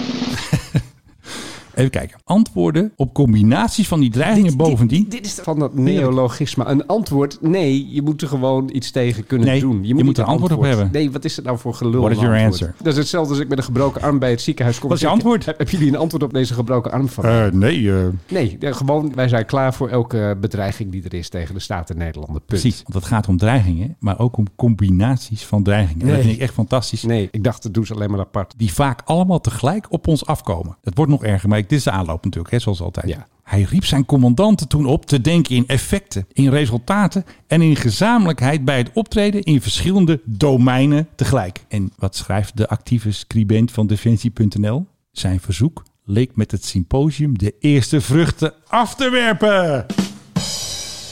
Speaker 2: Even kijken. Antwoorden op combinaties van die dreigingen
Speaker 7: Dit- dit-
Speaker 2: bovendien.
Speaker 7: Dit is van dat neologisme. Een antwoord, nee, je moet er gewoon iets tegen kunnen
Speaker 2: Nee,
Speaker 7: doen.
Speaker 2: je moet er antwoord op hebben.
Speaker 7: Nee, wat is het nou voor gelul?
Speaker 2: What is
Speaker 7: een
Speaker 2: your
Speaker 7: antwoord?
Speaker 2: answer?
Speaker 7: Dat is hetzelfde als ik met een gebroken arm bij het ziekenhuis kom.
Speaker 2: Wat is je
Speaker 7: Zeggen,
Speaker 2: antwoord?
Speaker 7: Heb- Hebben jullie een antwoord op deze gebroken arm van?
Speaker 2: Eh, nee, eh,
Speaker 7: Nee, eh, gewoon wij zijn klaar voor elke bedreiging die er is tegen de staat in Nederland. Punt.
Speaker 2: precies. Want het gaat om dreigingen, maar ook om combinaties van dreigingen. En
Speaker 7: Nee.
Speaker 2: Dat vind ik echt fantastisch.
Speaker 7: Nee, ik dacht, dat doen ze alleen maar apart.
Speaker 2: Die vaak allemaal tegelijk op ons afkomen. Het wordt nog erger, maar ik- dit is de aanloop natuurlijk, hè, zoals altijd.
Speaker 7: Ja.
Speaker 2: Hij riep zijn commandanten toen op te denken in effecten, in resultaten en in gezamenlijkheid bij het optreden in verschillende domeinen tegelijk. En wat schrijft de actieve scribent van Defensie.nl? Zijn verzoek leek met het symposium de eerste vruchten af te werpen.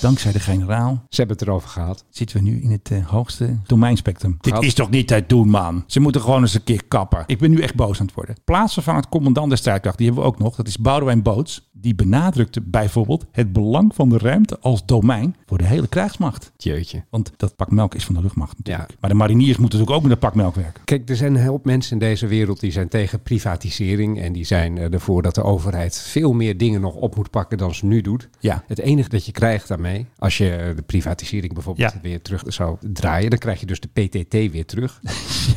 Speaker 2: Dankzij de generaal
Speaker 7: Ze hebben het erover gehad.
Speaker 2: zitten we nu in het eh, hoogste domeinspectrum. Dit
Speaker 7: Gehad.
Speaker 2: is toch niet te doen, man? Ze moeten gewoon eens een keer kappen. Ik ben nu echt boos aan het worden. Plaatsen van het commandant der strijdkracht, die hebben we ook nog. Dat is Boudewijn Boots. Die benadrukte bijvoorbeeld het belang van de ruimte als domein voor de hele krijgsmacht.
Speaker 7: Jeetje.
Speaker 2: Want dat pak melk is van de luchtmacht natuurlijk.
Speaker 7: Ja.
Speaker 2: Maar de mariniers moeten natuurlijk ook met dat pak melk werken.
Speaker 7: Kijk, er zijn een hoop mensen in deze wereld die zijn tegen privatisering. En die zijn eh, ervoor dat de overheid veel meer dingen nog op moet pakken dan ze nu doet.
Speaker 2: Ja.
Speaker 7: Het enige dat je krijgt daarmee, als je eh, de privatisering bijvoorbeeld
Speaker 2: Ja.
Speaker 7: weer terug zou draaien, dan krijg je dus de PTT weer terug.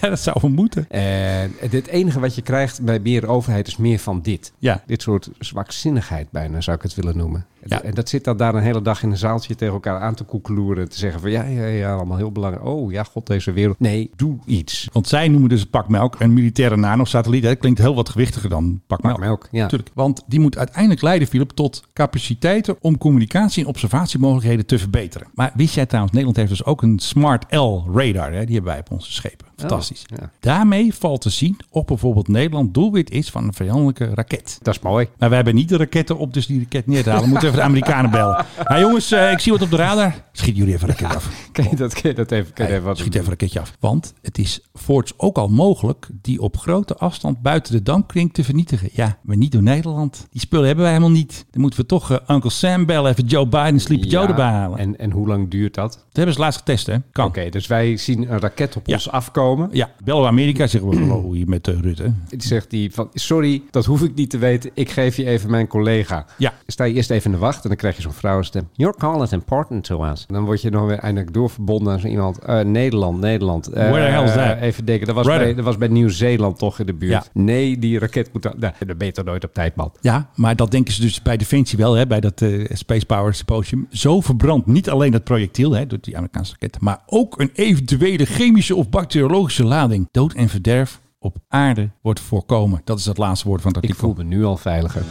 Speaker 2: Ja, dat zou we moeten.
Speaker 7: en het- het enige wat je krijgt bij meer overheid is meer van dit.
Speaker 2: Ja.
Speaker 7: Dit soort zwakzinnigheid bijna zou ik het willen noemen.
Speaker 2: Ja.
Speaker 7: En dat zit dan daar een hele dag in een zaaltje tegen elkaar aan te koekeloeren. Te zeggen van ja, ja, ja, allemaal heel belangrijk. Oh ja, god, deze wereld. Nee, doe iets.
Speaker 2: Want zij noemen dus het pak melk een militaire nanosatelliet. Dat klinkt heel wat gewichtiger dan pak melk.
Speaker 7: Pak melk, ja.
Speaker 2: Natuurlijk, want die moet uiteindelijk leiden, Philip, tot capaciteiten om communicatie en observatiemogelijkheden te verbeteren. Maar wist jij trouwens, Nederland heeft dus ook een Smart L radar, hè? die hebben wij op onze schepen. Fantastisch.
Speaker 7: Oh, ja.
Speaker 2: Daarmee valt te zien of bijvoorbeeld Nederland doelwit is van een vijandelijke raket.
Speaker 7: Dat is mooi.
Speaker 2: Maar wij hebben niet de raketten op, dus die raket neer te halen. We moeten even de Amerikanen bellen. Hé jongens, eh, ik zie wat op de radar. Schiet jullie even een raket af.
Speaker 7: Kan je dat, kan je dat even, kan
Speaker 2: Nee,
Speaker 7: je even Eh, wat
Speaker 2: Eh, schiet even een keertje af. Want het is voorts ook al mogelijk die op grote afstand buiten de dampkring te vernietigen. Ja, maar niet door Nederland. Die spullen hebben wij helemaal niet. Dan moeten we toch eh, Uncle Sam bellen, even Joe Biden, Sleepy Joe
Speaker 7: Ja,
Speaker 2: erbij halen.
Speaker 7: En, en hoe lang duurt dat?
Speaker 2: Dat hebben ze laatst getest, hè? Kan.
Speaker 7: Oké, dus wij zien een raket op
Speaker 2: Ja.
Speaker 7: ons afkomen.
Speaker 2: Ja, bellen we Amerika, zeggen we hallo hier met eh, Rutte.
Speaker 7: Die zegt hij van, sorry, dat hoef ik niet te weten. Ik geef je even mijn collega. Dus
Speaker 2: Ja.
Speaker 7: Sta je eerst even in de wacht en dan krijg je zo'n vrouwenstem. Your call is important to us. En dan word je nog weer eindelijk doorverbonden aan zo iemand. Eh, Nederland, Nederland. Eh,
Speaker 2: Where the hell is
Speaker 7: eh,
Speaker 2: that?
Speaker 7: Even denken, dat was,
Speaker 2: Right.
Speaker 7: bij, dat was bij Nieuw-Zeeland toch in de buurt.
Speaker 2: Ja.
Speaker 7: Nee, die raket moet... Nou, dan ben je toch nooit op tijd, man.
Speaker 2: Ja, maar dat denken ze dus bij Defensie wel, hè, bij dat eh, Space Power Symposium. Zo verbrandt niet alleen dat projectiel hè, door die Amerikaanse raket, maar ook een eventuele chemische of bacteriologische lading. Dood en verderf op aarde wordt voorkomen. Dat is het laatste woord van het
Speaker 7: Ik
Speaker 2: artikel.
Speaker 7: voel me nu al veiliger.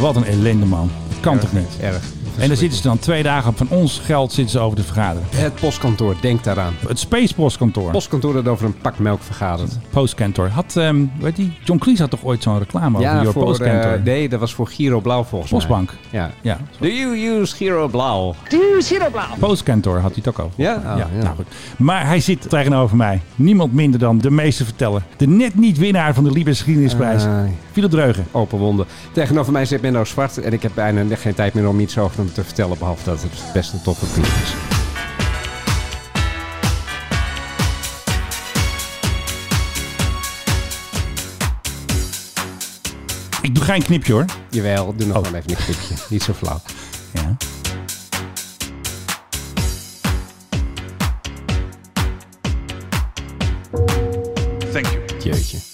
Speaker 2: Wat een ellende, man. Dat kan toch niet?
Speaker 7: Erg.
Speaker 2: En dan zitten ze dan twee dagen van ons geld zitten ze over te vergaderen.
Speaker 7: Het postkantoor, denk daaraan.
Speaker 2: Het Space Postkantoor,
Speaker 7: Postkantoor dat over een pak melk vergadert.
Speaker 2: Postkantoor, had, ehm weet die, John Cleese had toch ooit zo'n reclame over Your
Speaker 7: voor,
Speaker 2: Postkantoor?
Speaker 7: eh, nee, dat was voor Giro Blauw volgens
Speaker 2: Postbank.
Speaker 7: mij. Ja.
Speaker 2: Ja,
Speaker 7: Do you use Giro Blauw?
Speaker 2: Postkantoor had hij het ook al.
Speaker 7: Ja? Oh,
Speaker 2: ja,
Speaker 7: ja.
Speaker 2: Nou goed. Maar hij zit tegenover mij. Niemand minder dan de meeste verteller. De net niet winnaar van de Libes Geschiedenisprijs.
Speaker 7: Ah.
Speaker 2: Philip Dreugen.
Speaker 7: Open wonden. Tegenover mij zit Menno Zwart en ik heb bijna geen tijd meer om iets over hem te vertellen, behalve dat het best een toppapier is.
Speaker 2: Ik doe geen knipje hoor.
Speaker 7: Jawel, doe nog wel even een clipje. Niet zo flauw.
Speaker 2: Ja.
Speaker 4: Thank you.
Speaker 7: Jeetje.